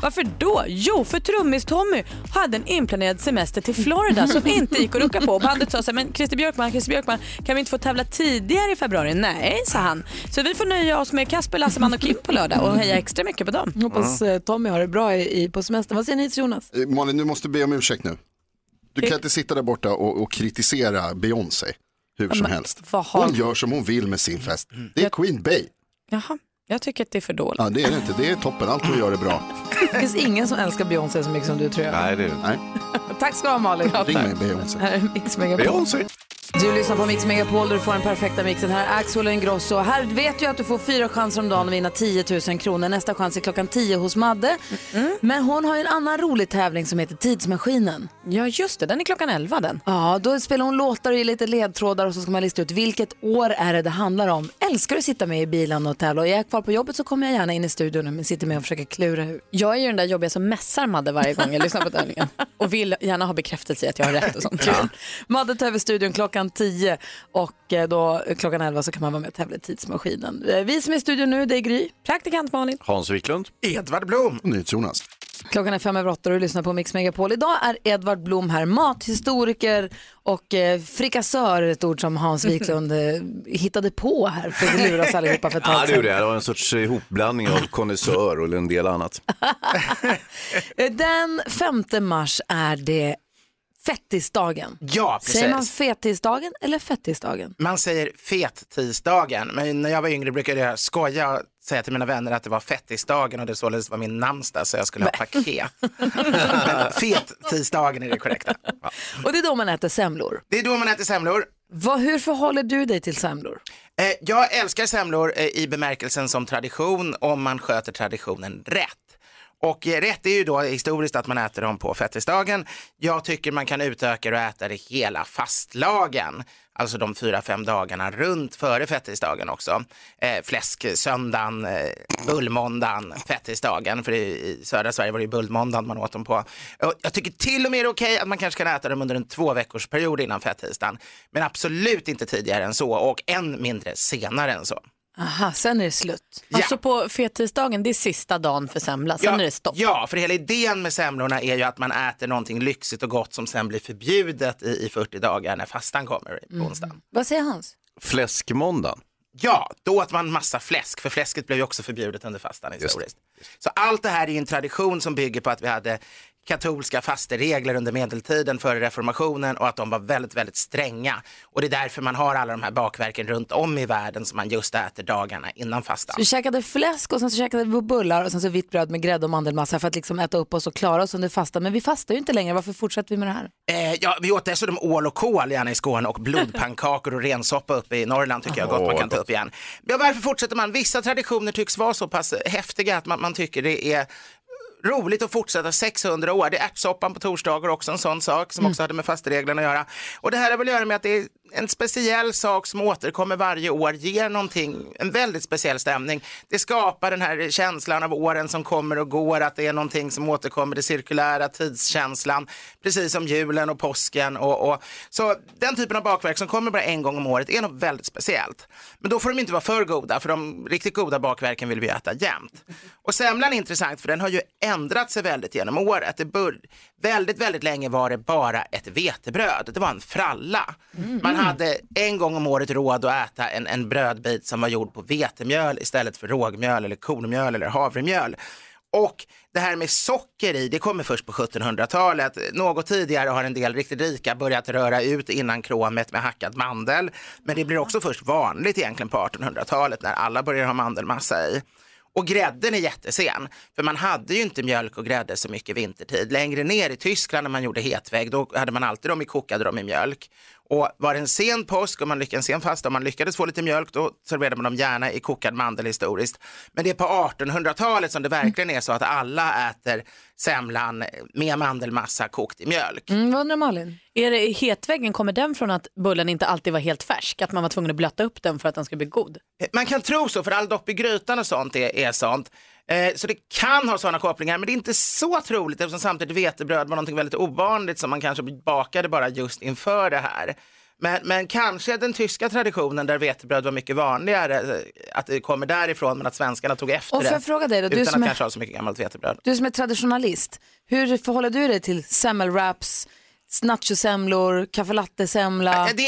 Varför då? Jo, för trummis-Tommy hade en inplanerad semester till Florida som inte gick att rucka på. Bandet sa så här, men Christer Björkman, Christer Björkman, kan vi inte få tävla tidigare i februari? Nej, sa han. Så vi får nöja oss med Kasper, Lasseman och Kim på lördag och heja extra mycket på dem. Hoppas eh, Tommy har det bra i, i, på semestern. Vad säger ni till Jonas? Eh, Malin, du måste be om ursäkt nu. Du kan inte sitta där borta och, och kritisera Beyoncé hur som men helst. vad har- Hon gör som hon vill med sin fest. Det är Queen Bey. Jaha, jag tycker att det är för dåligt. Ja, det är det inte. Det är toppen. Allt hon gör är bra. Det finns ingen som älskar Beyoncé så mycket som du tror jag. Nej, det är det inte. Tack ska du ha Malin. Ring mig Beyoncé. Här är Mix Megapol. Beyoncé. Du lyssnar på Mix Megapol där du får den perfekta mixen. Här är Axel Ingrosso. Här vet du att du får fyra chanser om dagen att vinna 10 000 kronor. Nästa chans är klockan 10 hos Madde. Men hon har ju en annan rolig tävling som heter Tidsmaskinen. Ja, just det. Den är klockan 11 den. Ja, då spelar hon låtar och ger lite ledtrådar och så ska man lista ut vilket år är det det handlar om. Älskar du att sitta med i bilen och tävla och är jag kvar på jobbet så kommer jag gärna in i studion och sitter med och försöker klura ut. Jag är ju den där jobbiga som messar Madde varje gång jag lyssnar på tävlingen och vill gärna ha bekräftelse i att jag har rätt och sånt. Ja. Madde tar över studion klockan 10 och eh, då, eh, klockan 11 så kan man vara med och tävla i Tidsmaskinen. Eh, Vi som är i studion nu, det är Gry. Praktikant Malin. Hans Wiklund. Edvard Blom. NyhetsJonas. Klockan är fem över åtta och du lyssnar på Mix Megapol. Idag är Edvard Blom här, mathistoriker och eh, frikassör, ett ord som Hans Wiklund eh, hittade på här för att lura oss allihopa för ett Ja, tag det gjorde sedan. jag. Det var en sorts eh, ihopblandning av konnässör och en del annat. Eh, Den 5 mars är det fettisdagen. Ja, precis. Säger man fettisdagen eller fettisdagen? Man säger fettisdagen, men när jag var yngre brukade jag skoja och säga till mina vänner att det var fettisdagen och det således var min namnsdag så jag skulle ha paket. men fettisdagen är det korrekta. Och det är då man äter semlor. Det är då man äter semlor. Vad, hur förhåller du dig till semlor? Eh, jag älskar semlor eh, i bemärkelsen som tradition om man sköter traditionen rätt. Och eh, rätt är ju då historiskt att man äter dem på fettisdagen. Jag tycker man kan utöka det och äta det hela fastlagen. Alltså de fyra, fem dagarna runt före fettisdagen också. Eh, fläsksöndagen, eh, bullmåndagen, fettisdagen. För i, i södra Sverige var det ju bullmåndagen man åt dem på. Och jag tycker till och med det är okej att man kanske kan äta dem under en två veckors period innan fettisdagen. Men absolut inte tidigare än så och än mindre senare än så. Aha, sen är det slut. Alltså på fettisdagen, det är sista dagen för semla, sen är det stopp. Ja, för hela idén med semlorna är ju att man äter någonting Mm. lyxigt och gott som sen blir förbjudet i, i 40 dagar när fastan kommer på onsdagen. Vad säger Hans? Fläskmåndagen. Ja, då åt man massa fläsk, för fläsket blev ju också förbjudet under fastan historiskt. Så allt det här är ju en tradition som bygger på att vi hade katolska fasteregler under medeltiden före reformationen och att de var väldigt, väldigt stränga. Och det är därför man har alla de här bakverken runt om i världen som man just äter dagarna innan fastan. Vi käkade fläsk och sen så käkade vi bullar och sen så vitt bröd med grädde och mandelmassa för att liksom äta upp oss och klara oss under fasta. Men vi fastar ju inte längre, varför fortsätter vi med det här? Eh, ja, vi åt dessutom ål och kål gärna i Skåne och blodpannkakor och rensoppa uppe i Norrland tycker jag gott man kan ta upp igen. Ja, varför fortsätter man? Vissa traditioner tycks vara så pass häftiga att man, man tycker det är roligt att fortsätta 600 år. Det är ärtsoppan på torsdagar också en sån sak som också hade med fastereglerna att göra. Och det här har väl att göra med att det är en speciell sak som återkommer varje år, ger någonting, en väldigt speciell stämning. Det skapar den här känslan av åren som kommer och går, att det är någonting som återkommer, det cirkulära tidskänslan, precis som julen och påsken. Och, och. Så den typen av bakverk som kommer bara en gång om året är något väldigt speciellt. Men då får de inte vara för goda, för de riktigt goda bakverken vill vi äta jämt. Och semlan är intressant, för den har ju ändrat sig väldigt genom året. Det bör, väldigt, väldigt länge var det bara ett vetebröd, det var en fralla. Mm. Man hade en gång om året råd att äta en, en brödbit som var gjord på vetemjöl istället för rågmjöl eller kornmjöl eller havremjöl. Och det här med socker i, det kommer först på 1700-talet. Något tidigare har en del riktigt rika börjat röra ut innan kromet med hackad mandel. Men det blir också först vanligt egentligen på 1800-talet när alla börjar ha mandelmassa i. Och grädden är jättesen, för man hade ju inte mjölk och grädde så mycket vintertid. Längre ner i Tyskland när man gjorde hetvägg, då hade man alltid dem i, kokade dem i mjölk. Och var det en sen påsk och man lyckades, en sen fasta, om man lyckades få lite mjölk, då serverade man dem gärna i kokad mandel historiskt. Men det är på 1800-talet som det verkligen är så att alla äter semlan med mandelmassa kokt i mjölk. Mm, vad undrar Malin? Är det hetväggen, kommer den från att bullen inte alltid var helt färsk? Att man var tvungen att blöta upp den för att den skulle bli god? Eh, Man kan tro så, för all dopp i grytan och sånt är, är sånt. Eh, så det kan ha sådana kopplingar, men det är inte så troligt eftersom samtidigt vetebröd var någonting väldigt ovanligt som man kanske bakade bara just inför det här. Men, men kanske den tyska traditionen där vetebröd var mycket vanligare, eh, att det kommer därifrån, men att svenskarna tog efter Och får det. jag fråga dig då, du utan som att är- kanske ha så mycket gammalt vetebröd. Du som är traditionalist, hur förhåller du dig till semmelwraps, nachosemlor, kaffelattesemla, Eh, Det är allting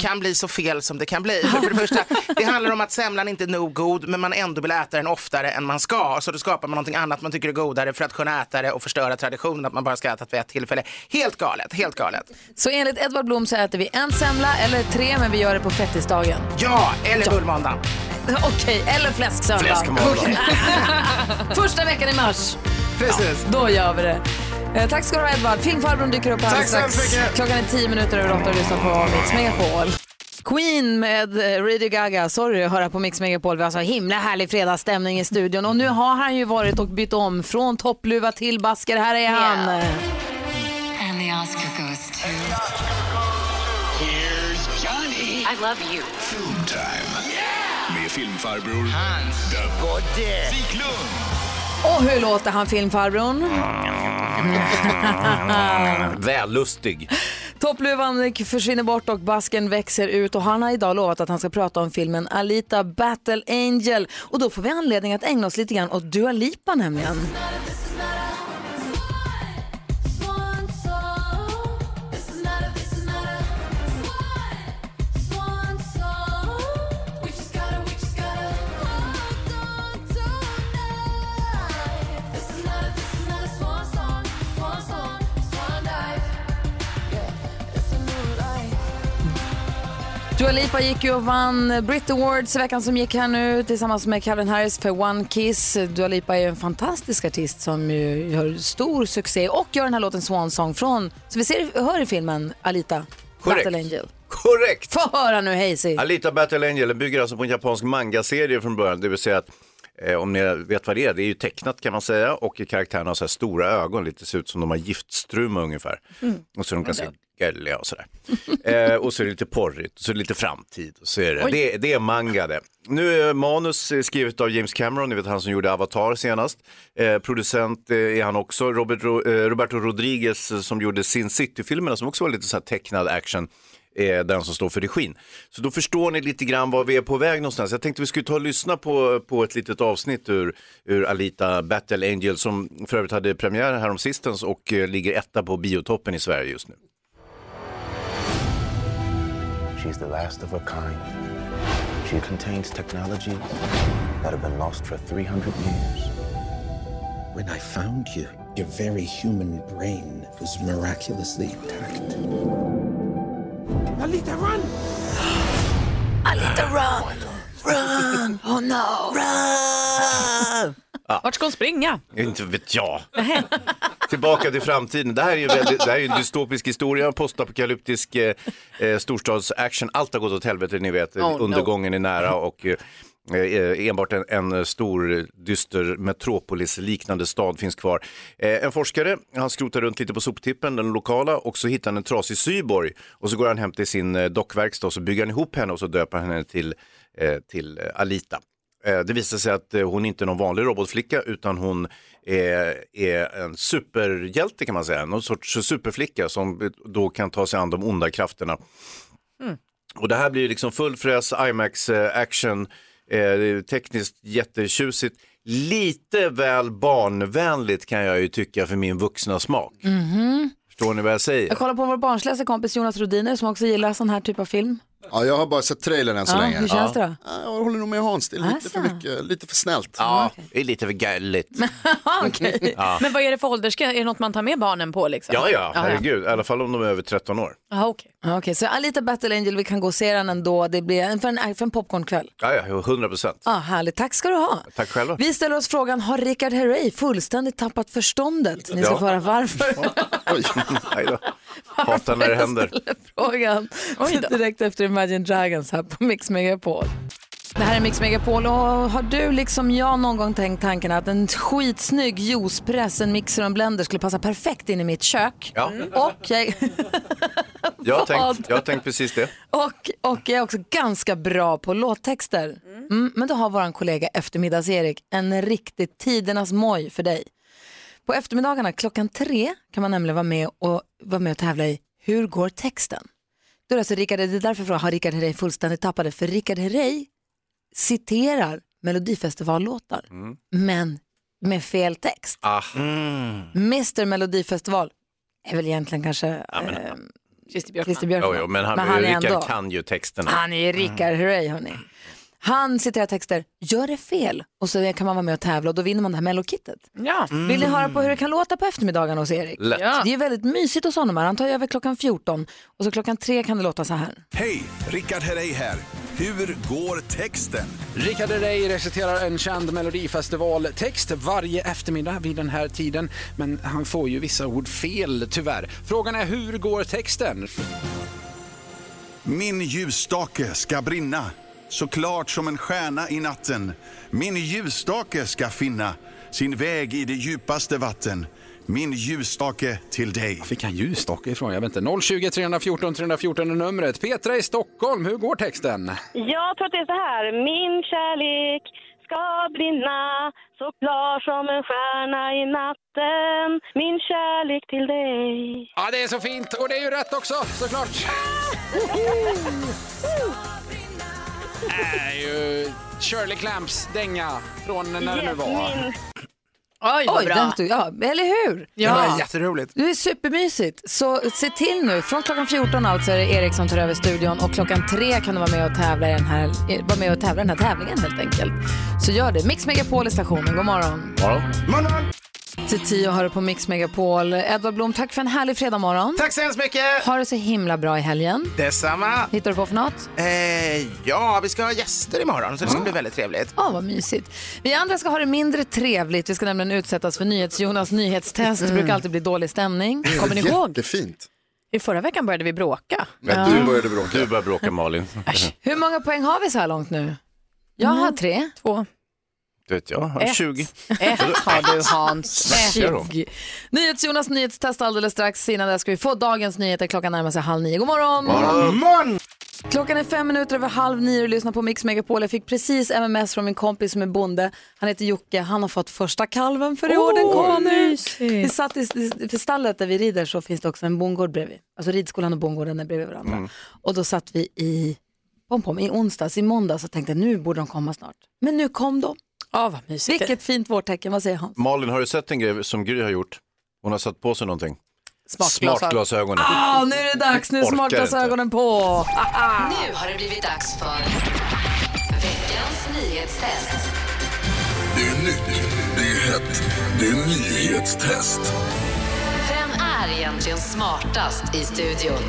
som kan bli så fel som det kan bli. För det, första, det handlar om att semlan inte är nog god men man ändå vill äta den oftare än man ska. Så då skapar man någonting annat man tycker är godare för att kunna äta det och förstöra traditionen att man bara ska äta det vid ett tillfälle. Helt galet, helt galet. Så enligt Edvard Blom så äter vi en semla eller tre men vi gör det på fettisdagen. Ja, eller bullmåndag. Okej, eller fläsksöndag. Fläskmåndag. Första veckan i mars. Precis. Ja, då gör vi det. Eh, tack ska du ha Edvard. Finkfarbrorn dyker upp här Tack så strax. hemskt mycket. Klockan är tio minuter över åtta och lyssnar på Mix Megapol. Queen med eh, Radio Gaga, sorry att höra på Mix Megapol. Vi har så himla härlig fredagsstämning i studion och nu har han ju varit och bytt om från toppluva till basker. Här är han. And the Oscar goes to... Here's Johnny! I love you. Time. Med filmfarbror Hans Gardell. Wiklund. Och hur låter han filmfarbrorn? Vällustig. Toppluvan försvinner bort och basken växer ut och han har idag lovat att han ska prata om filmen Alita Battle Angel och då får vi anledning att ägna oss lite grann åt Dua Lipa nämligen. Dua Lipa gick ju och vann Brit Awards i veckan som gick här nu tillsammans med Calvin Harris för One Kiss. Dua Lipa är ju en fantastisk artist som ju gör stor succé och gör den här låten Swan Song från, som vi ser, hör i filmen, Alita, Korrekt. Battle Angel. Korrekt! Få höra nu Hazy. Alita Battle Angel bygger alltså på en japansk manga-serie från början, det vill säga att eh, om ni vet vad det är, det är ju tecknat kan man säga och karaktärerna har så här stora ögon, lite ser ut som de har giftstruma ungefär. Mm. Och så är de ganska gulliga och sådär. eh, och så är det lite porrigt, och så är det lite framtid. Och så är det. Oj. Det, det är manga det. Nu är manus eh, skrivet av James Cameron, ni vet han som gjorde Avatar senast. Eh, producent eh, är han också, Robert, Ro- eh, Roberto Rodriguez eh, som gjorde Sin City-filmerna som också var lite så här tecknad action är eh, den som står för regin. Så då förstår ni lite grann var vi är på väg någonstans. Jag tänkte vi skulle ta och lyssna på, på ett litet avsnitt ur, ur Alita Battle Angel som för övrigt hade premiär häromsistens och eh, ligger etta på biotoppen i Sverige just nu. She She's the last of her kind. She contains technology that have been lost for 300 years. When I found you, your very human brain was miraculously intact. Alita, run! Alita, run! Run! Oh no! Run! Vart ska hon springa? Inte vet jag. Tillbaka till framtiden. Det här är ju väldigt, det här är ju en dystopisk historia, postapokalyptisk eh, eh, storstadsaction. Allt har gått åt helvete, ni vet. Oh, no. Undergången är nära och eh, eh, enbart en, en stor dyster metropolisliknande stad finns kvar. Eh, en forskare, han skrotar runt lite på soptippen, den lokala, och så hittar han en trasig syborg. Och så går han hem till sin eh, dockverkstad och så bygger han ihop henne och så döper han henne till, eh, till eh, Alita. Eh, Det visar sig att eh, hon inte är någon vanlig robotflicka utan hon är, är en superhjälte kan man säga, någon sorts superflicka som eh, då kan ta sig an de onda krafterna. Mm. Och det här blir liksom full fräs, IMAX-action, eh, tekniskt jättetjusigt. Lite väl barnvänligt kan jag ju tycka för min vuxna smak. Mhm. Förstår ni vad jag säger? Jag kollar på vår barnsligaste kompis Jonas Rodiner som också gillar sån här typ av film. Ja, jag har bara sett trailern än så Ja, länge. Ah, hur känns det då? Ja, Jag håller nog med Hans, det är lite för mycket, lite för snällt. Ja, det är lite för gulligt. Okej. Ja. Men vad är det för åldersgräns? Är det något man tar med barnen på? Liksom? Ja, ja, herregud, i alla fall om de är över 13 år. Aha, okej. Ja, Ah, Okej, så Alita Battle Angel, vi kan gå och se den ändå. Det blir en, för en, för en popcornkväll. Ja, ja, 100 procent. Ja, Ah, härligt, tack ska du ha. Tack själva. Vi ställer oss frågan, har Richard Herrey fullständigt tappat förståndet? Ni ska Ja. få höra varför. Oj, nej då. Hatar när det händer. frågan direkt efter Imagine Dragons här på Mix Megapol. Det här är Mix Megapol och har du liksom jag någon gång tänkt tanken att en skitsnygg juicepress, en mixer och en blender skulle passa perfekt in i mitt kök? Ja. Och, jag, Jag har, Vad? tänkt, jag har tänkt precis det. och, och jag är också ganska bra på låttexter. Mm, men då har vår kollega eftermiddags-Erik en riktigt tidernas moj för dig. På eftermiddagarna klockan tre kan man nämligen vara med och, vara med och tävla i Hur går texten? Då är det, alltså Rickard, det är därför frågan har Rickard Herrey fullständigt tappat det? För Rickard Herrey citerar Melodifestivallåtar, men med fel text. Mm. Ah. Mr Melodifestival är väl egentligen kanske eh, Christer Björkman. Jo, jo, men han, är Rickard ändå, Ah. kan ju texterna. han är ju Rickard Herrey hörni. Han citerar texter, gör det fel och så kan man vara med och tävla och då vinner man det här mellokittet. Ja. Vill ni höra på hur det kan låta på eftermiddagen hos Erik? Lätt. Ja. Det är väldigt mysigt hos honom här. Han tar ju över klockan 14 och så klockan 3 kan det låta så här. Hej, Rickard Herrey här. Hur går texten? Rickard Herrey reciterar en känd melodifestivaltext varje eftermiddag vid den här tiden. Men han får ju vissa ord fel, tyvärr. Frågan är hur går texten? Min ljusstake ska brinna, så klart som en stjärna i natten. Min ljusstake ska finna sin väg i det djupaste vatten. Min ljusstake till dig. Fick han ljusstake ifrån? Jag vet inte. 020 314 314 är numret. Petra i Stockholm, hur går texten? Jag tror att det är så här. Min kärlek ska brinna så klar som en stjärna i natten. Min kärlek till dig. Ja, det är så fint! Och det är ju rätt också, såklart! Det är ju Shirley Clamps dänga från när det nu var. Oj, vad bra. den stod, ja, eller hur? Ja. Det var jätteroligt. Det är supermysigt. Så se till nu, från klockan 14 alltså är det Erik som tar över studion och klockan 3 kan du vara med och tävla i den här, eh, vara med och tävla i den här tävlingen helt enkelt. Så gör det. Mix Megapol i stationen, god morgon. Till 10 har du på Mix Megapol. Edvard Blom, tack för en härlig fredag morgon. Tack så hemskt mycket. Ha det så himla bra i helgen. Detsamma. Hittar du på för något? Eh, ja, vi ska ha gäster imorgon så det ska bli väldigt trevligt. Ja, vad mysigt. Vi andra ska ha det mindre trevligt. Vi ska nämligen utsättas för NyhetsJonas nyhetstest. Det brukar alltid bli dålig stämning. Kommer ni ihåg? Jättefint. I förra veckan började vi bråka. Du började bråka. Du började bråka Malin. Hur många poäng har vi så här långt nu? Jag har tre. Två. Du vet, jag har Ett. 20. Ett har du Hans. Snackar du om? NyhetsJonas nyhetstest alldeles strax. Innan det ska vi få dagens nyheter. Klockan närmar sig halv nio. God morgon! Klockan är fem minuter över halv nio och lyssnar på Mix Megapol. Jag fick precis MMS från min kompis som är bonde. Han heter Jocke. Han har fått första kalven för i år. Den kom nu. Vi satt i, i för stallet där vi rider så finns det också en bondgård bredvid. Alltså ridskolan och bondgården är bredvid varandra. Och då satt vi i pom pom i onsdags, i måndags och tänkte nu borde de komma snart. Men nu kom de. Ja, vad mysigt. Vilket fint vårtecken, vad säger Hans? Malin, har du sett en grej som Gry har gjort? Hon har satt på sig någonting. smartglasögon. Smartglasögonen. Ah, nu är det dags, nu är Orkar smartglasögonen på. Haha. Nu har det blivit dags för veckans nyhetstest. Det är nytt, det är hett, det är nyhetstest. Vem är egentligen smartast i studion?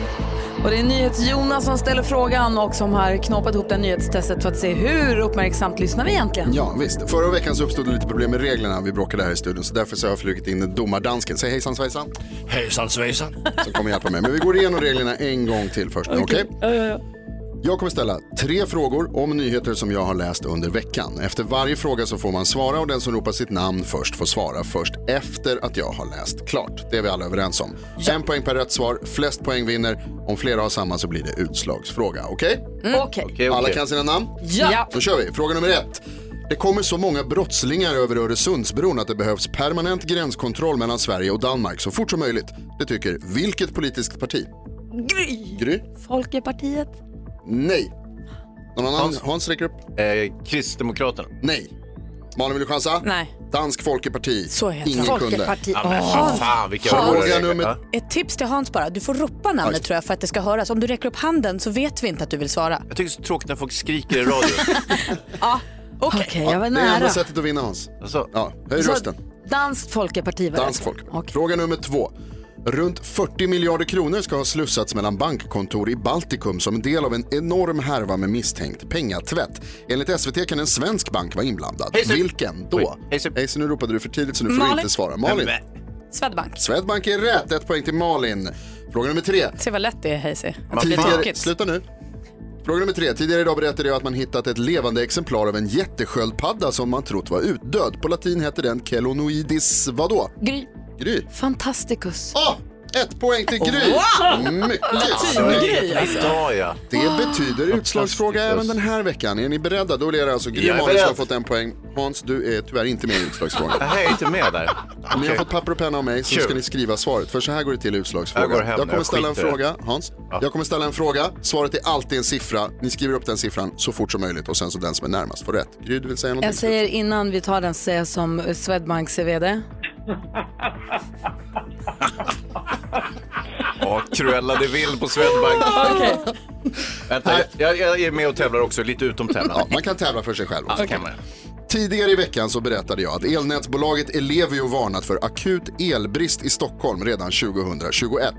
Och det är NyhetsJonas som ställer frågan och som har knåpat ihop det här nyhetstestet för att se hur uppmärksamt lyssnar vi egentligen. Ja, visst. Förra veckan så uppstod det lite problem med reglerna. Vi bråkade här i studion, så därför så har jag flugit in domardansken. Säg hejsan svejsan. Hejsan svejsan. Som kommer hjälpa mig. Men vi går igenom reglerna en gång till först. nu, Okej? Jag kommer ställa tre frågor om nyheter som jag har läst under veckan. Efter varje fråga så får man svara och den som ropar sitt namn först får svara först efter att jag har läst klart. Det är vi alla överens om. En poäng per rätt svar, flest poäng vinner. Om flera har samma så blir det utslagsfråga. Okej? Okej. Alla kan sina namn? Ja. Då kör vi. Fråga nummer ett. Det kommer så många brottslingar över Öresundsbron att det behövs permanent gränskontroll mellan Sverige och Danmark så fort som möjligt. Det tycker vilket politiskt parti? Gry. Gry? Folkpartiet. Nej. Någon annan? Hans, räcker upp. Eh, Kristdemokraterna. Nej. Malin, vill du chansa? Nej. Dansk Folkeparti. Så heter Ingen det. kunde. Folkeparti. Ja, men för Åh. fan, vilka oerhörda Fråga regler. nummer... Ett tips till Hans bara, du får ropa namnet Oj. tror jag för att det ska höras. Om du räcker upp handen så vet vi inte att du vill svara. Jag tycker det är så tråkigt när folk skriker i radio. Okej, jag var Det är enda nära. sättet att vinna Hans. Alltså, Ja, höj Så- rösten. Danskt Folkeparti var Dansk rätt. folk. Fråga nummer två. Runt 40 miljarder kronor ska ha slussats mellan bankkontor i Baltikum som en del av en enorm härva med misstänkt pengatvätt. Enligt SVT kan en svensk bank vara inblandad. Hejsan. Vilken då? Hejsan, nu ropade du för tidigt så nu får Malin. du inte svara. Malin. Nej, Swedbank. Swedbank är rätt. Ett poäng till Malin. Fråga nummer tre. Se vad lätt det är Hayesy. Att det blir Tidigare, tråkigt. sluta nu. Fråga nummer tre. Tidigare idag berättade jag att man hittat ett levande exemplar av en jättesköldpadda som man trott var utdöd. På latin heter den kelonoidis vadå? Gry. Gry. Fantasticus. Åh! Ett poäng till Gry. Wow! Mycket. Latin-Gry, alltså. Idag, ja. Det betyder utslagsfråga även den här veckan. Är ni beredda? Då blir det alltså Gry Jag är Malin som beredd. har fått en poäng. Hans, du är tyvärr inte med i utslagsfrågan. Jag är inte med där. Ni har fått papper och penna av mig så Kul. ska ni skriva svaret. För så här går det till i utslagsfrågan. Jag går hem nu, kommer jag ställa en skiter i det. fråga, Hans. Jag kommer ställa en fråga. Svaret är alltid en siffra. Ni skriver upp den siffran så fort som möjligt och sen så den som är närmast får rätt. Gry, du vill säga någonting? Jag säger innan vi tar den, säger jag som eh, Swedbanks vd. Ja, Cruella de Vil på Swedbank. Okej. Vänta, jag- jag, jag är med och tävlar också, lite utom tävlan. Ja, man kan tävla för sig själv också. Ja, kan man. Tidigare i veckan så berättade jag att elnätsbolaget Ellevio varnat för akut elbrist i Stockholm redan 2021.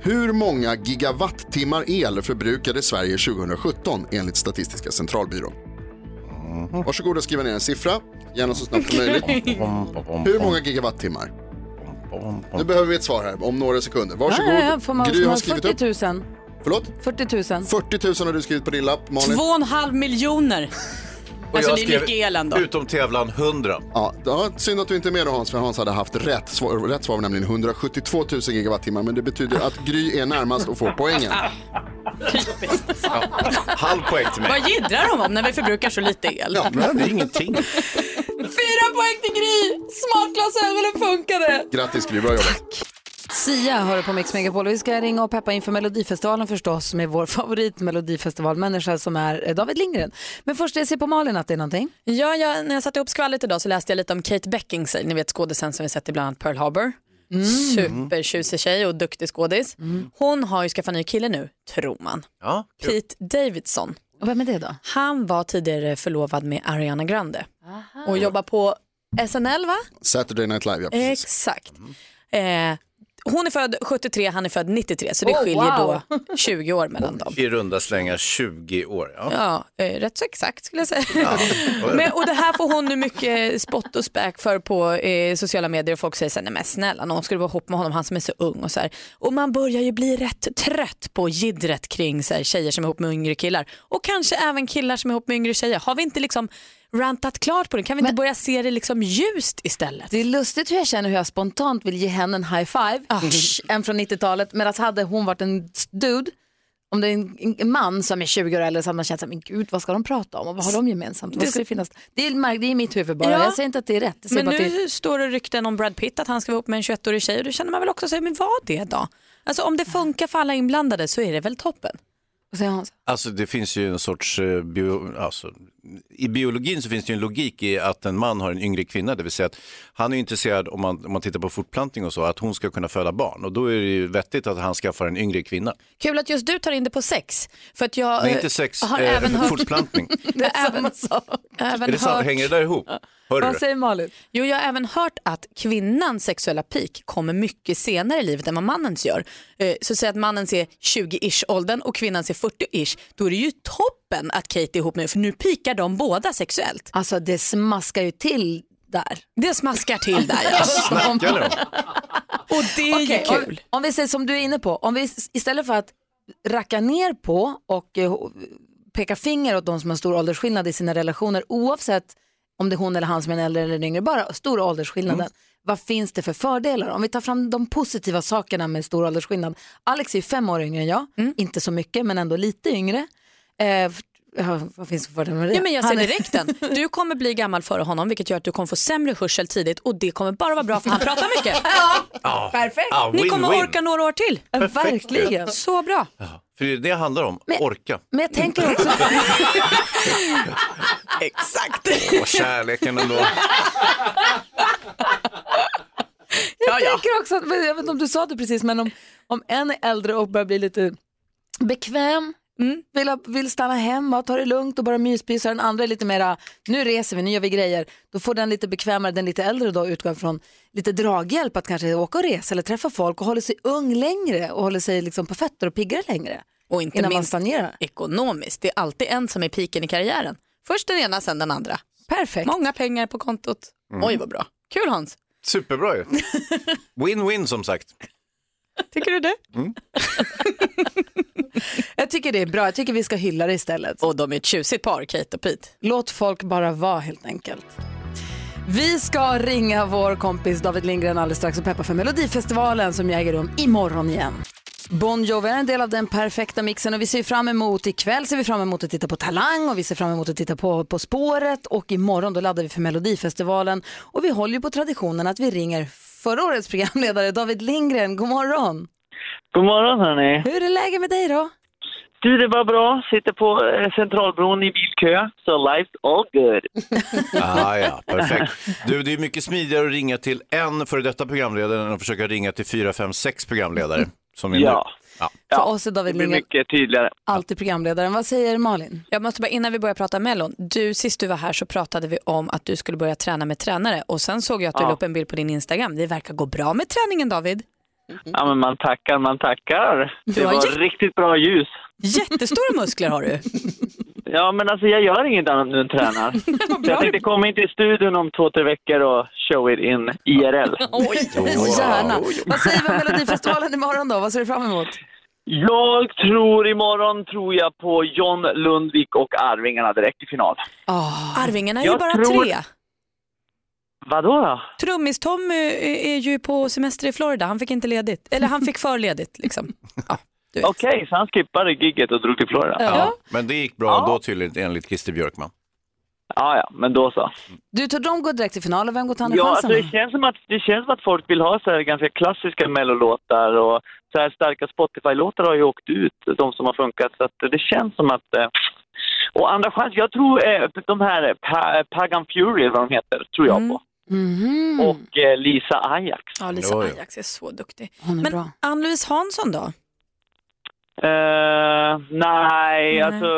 Hur många gigawattimmar el förbrukade Sverige 2017 enligt Statistiska centralbyrån? Varsågod och skriva ner en siffra, gärna så snabbt som möjligt. Hur många gigawattimmar? Nu behöver vi ett svar här om några sekunder. Varsågod. Ja, ja, ja, får man, Gry får har man skrivit upp. 40 000. Förlåt? 40 000. 40 000 har du skrivit på din lapp, Malin. Två och en halv miljoner. alltså jag det är skrev- mycket el ändå. Utom tävlan 100. Ja, ja, synd att du inte är med då Hans, för Hans hade haft rätt. Svar, rätt svar var nämligen 172 000 gigawattimmar, men det betyder att Gry är närmast och får poängen. Halv poäng till Vad jiddrar de om när vi förbrukar så lite el? Ja, men det är ingenting. Fyra poäng till Gry! Smartglasögonen funkade! Grattis Gry, bra jobbat. Sia hör du på Mix Megapol och vi ska ringa och peppa inför Melodifestivalen förstås med vår favorit Melodifestivalmänniska som är eh, David Lindgren. Men först, jag ser på Malin att det är någonting. Ja, jag, när jag satte ihop skvallret idag så läste jag lite om Kate Beckinsale, ni vet skådisen som vi sett i bland annat Pearl Harbor. Mm. Supertjusig tjej och duktig skådis. Mm. Hon har ju skaffat ny kille nu, tror man. Ja, Pete Davidson. Och vem är det då? Han var tidigare förlovad med Ariana Grande och jobbar på SNL va? Saturday Night Live, ja. precis. Exakt. Eh, hon är född 73, han är född 93 så det Oh, skiljer wow. då 20 år mellan dem. I runda slängar 20 år. Ja. Ja, eh, rätt så exakt skulle jag säga. Men, och det här får hon nu mycket spott och späk för på eh, sociala medier och folk säger så här, nej men snälla någon skulle vara ihop med honom, han som är så ung och så här. Och man börjar ju bli rätt trött på jiddret kring så här, tjejer som är ihop med yngre killar och kanske även killar som är ihop med yngre tjejer. Har vi inte liksom rantat klart på det? Kan vi inte börja se det liksom ljust istället? Det är lustigt hur jag känner hur jag spontant vill ge henne en high five, Ah. Tsch, en från 90-talet, medan hade hon varit en dude, om det är en, en man som är 20 år eller så hade man känt så här, men gud vad ska de prata om och vad har de gemensamt? Vad Det- ska det, finnas? Det, är, märk- det är i mitt huvud bara, Ja. jag säger inte att det är rätt. Jag säger Men bara nu att det är... står det rykten om Brad Pitt att han ska vara ihop med en 21-årig tjej och då känner man väl också sig, men vad det då? Alltså om det funkar för alla inblandade så är det väl toppen. Vad säger Hans? Alltså det finns ju en sorts, eh, bio, alltså, i biologin så finns det ju en logik i att en man har en yngre kvinna, det vill säga att han är ju intresserad om man, om man tittar på fortplantning och så, att hon ska kunna föda barn och då är det ju vettigt att han skaffar en yngre kvinna. Kul att just du tar in det på sex. För att jag Nej eh, inte sex, har eh, även hört... fortplantning. Det är även, även är det sant, hört- hänger det där ihop? Hör du? det? Malin? Jo, jag har även hört att kvinnans sexuella peak kommer mycket senare i livet än vad mannens gör. Eh, Så säg att mannens är 20-ish åldern och kvinnans är 40-ish. Då är det ju toppen att Kate är ihop nu, för nu pikar de båda sexuellt. Alltså det smaskar ju till där. Det smaskar till där ja. Snackar ni om? Och det är Okej, ju kul. Om, om vi säger som du är inne på, om vi s- istället för att racka ner på och eh, ho- peka finger åt de som har stor åldersskillnad i sina relationer, oavsett om det är hon eller han som är en äldre eller en yngre, bara stora åldersskillnaden. Mm. Vad finns det för fördelar? Om vi tar fram de positiva sakerna med stor åldersskillnad. Alex är ju fem år yngre än jag, Mm. inte så mycket men ändå lite yngre. Eh, f- ja, vad finns det för fördelar med det? Ja, men jag ser Han är- direkt den. Du kommer bli gammal före honom vilket gör att du kommer få sämre hörsel tidigt och det kommer bara vara bra för han pratar mycket. Ja. Perfekt. Ja, Ni kommer Ah, win-win. orka några år till. Perfekt. Verkligen. Så bra. För det är det det handlar om, orka. Men jag tänker också... Exakt. Och kärleken ändå. Jag tänker också, att, men jag vet inte om du sa det precis, men om, om en är äldre och börjar bli lite bekväm, vill, ha- vill stanna hemma, ta det lugnt och bara myspysa, den andra är lite mera, nu reser vi, nu gör vi grejer, då får den lite bekvämare, den lite äldre då utgår från lite draghjälp att kanske åka och resa eller träffa folk och håller sig ung längre och håller sig liksom på fötter och piggare längre. Och inte Innan man minst ekonomiskt. Det är alltid en som är piken i karriären. Först den ena, sen den andra. Perfekt. Många pengar på kontot. Mm. Oj vad bra. Kul Hans. Superbra ju. Win-win som sagt. Tycker du det? Jag tycker det är bra, jag tycker vi ska hylla det istället. Och de är ett tjusigt par, Kate och Pete. Låt folk bara vara helt enkelt. Vi ska ringa vår kompis David Lindgren alldeles strax och peppa för Melodifestivalen som ju äger rum imorgon igen. Bon Jovi är en del av den perfekta mixen och vi ser fram emot, ikväll ser vi fram emot att titta på Talang och vi ser fram emot att titta på På spåret och imorgon då laddar vi för Melodifestivalen och vi håller ju på traditionen att vi ringer förra årets programledare David Lindgren, god morgon! God morgon hörni. Hur är läget med dig då? Du, det var bra. Sitter på eh, Centralbron i bilkö, så life's all good. Ah, ja, perfekt. Du, det är mycket smidigare att ringa till en före detta programledare än att försöka ringa till fyra, fem, sex programledare. Som är Ja. Nu. ja. För oss är David Det Mm. blir Lindgren mycket tydligare. alltid programledaren. Vad säger Malin? Jag måste bara, innan vi börjar prata Mellon, du, sist du var här så pratade vi om att du skulle börja träna med tränare och sen såg jag att du Ja. la upp en bild på din Instagram. Det verkar gå bra med träningen David. Ja, men man tackar, man tackar. Det har var jätte- riktigt bra ljus. Jättestora muskler har du. Ja, men alltså jag gör inget annat nu än tränar. Så jag tänkte komma in till studion om två, tre veckor och show it in IRL. Gärna. Vad säger vi om Melodifestivalen imorgon då? Vad ser du fram emot? Jag tror imorgon tror jag på John Lundvik och Arvingarna direkt i final. Ah. Arvingarna är Jag ju bara tror- tre. Vadå då? Trummis-Tommy eh, är ju på semester i Florida. Han fick inte ledigt. Eller han fick för ledigt liksom. Okej, så han skippade gigget och drog till Florida. Ja, men det gick bra ändå tydligen enligt Christer Björkman. Ja, ja, men då så. Du, tror de går direkt till final och vem går till andra Ja, chansen? alltså då? det, känns som att, det känns som att folk vill ha så här ganska klassiska mellolåtar och så här starka Spotify-låtar har ju åkt ut, de som har funkat. Så att det känns som att... Eh, och Andra chans, jag tror eh, de här eh, pa, Pagan Fury, vad de heter, tror jag på. Mhm, Och eh, Lisa Ajax. Ja, Lisa Ajax är så duktig. Men Ann-Louise Hansson då? Eh, nej, alltså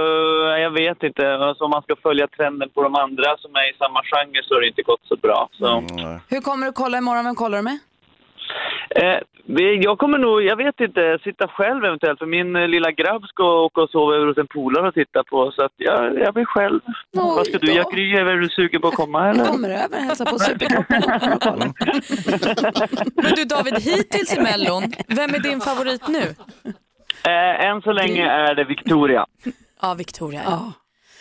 jag vet inte. Alltså, om man ska följa trenden på de andra som är i samma genre så har det inte gått så bra. Så. Hur kommer du kolla imorgon? Vem kollar du med? Eh, det- jag kommer nog, jag vet inte, sitta själv eventuellt. För min eh, lilla grabb ska åka och sova över hos en polare och titta på. Så att jag, jag blir själv. Vad ska du göra? Gry, är du sugen på att komma eller? Jag kommer över och hälsar på Superkroppen. Men du David, hittills i Mellon, vem är din favorit nu? Eh, än så länge är det Victoria. Ja, Victoria. Ja.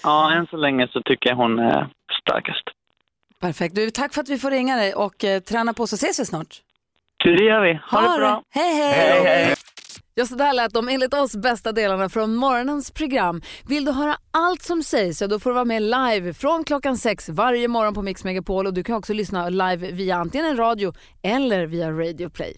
Ja, än så länge så tycker jag hon är starkast. Perfekt. Du, tack för att vi får ringa dig och eh, träna på så ses vi snart. Det gör vi. Ha det bra. Hej, hej. Hej, hej. Ja, så där lät de enligt oss bästa delarna från morgonens program. Vill du höra allt som sägs så då får du vara med live från klockan sex varje morgon på Mix Megapol och du kan också lyssna live via antingen en radio eller via Radio Play.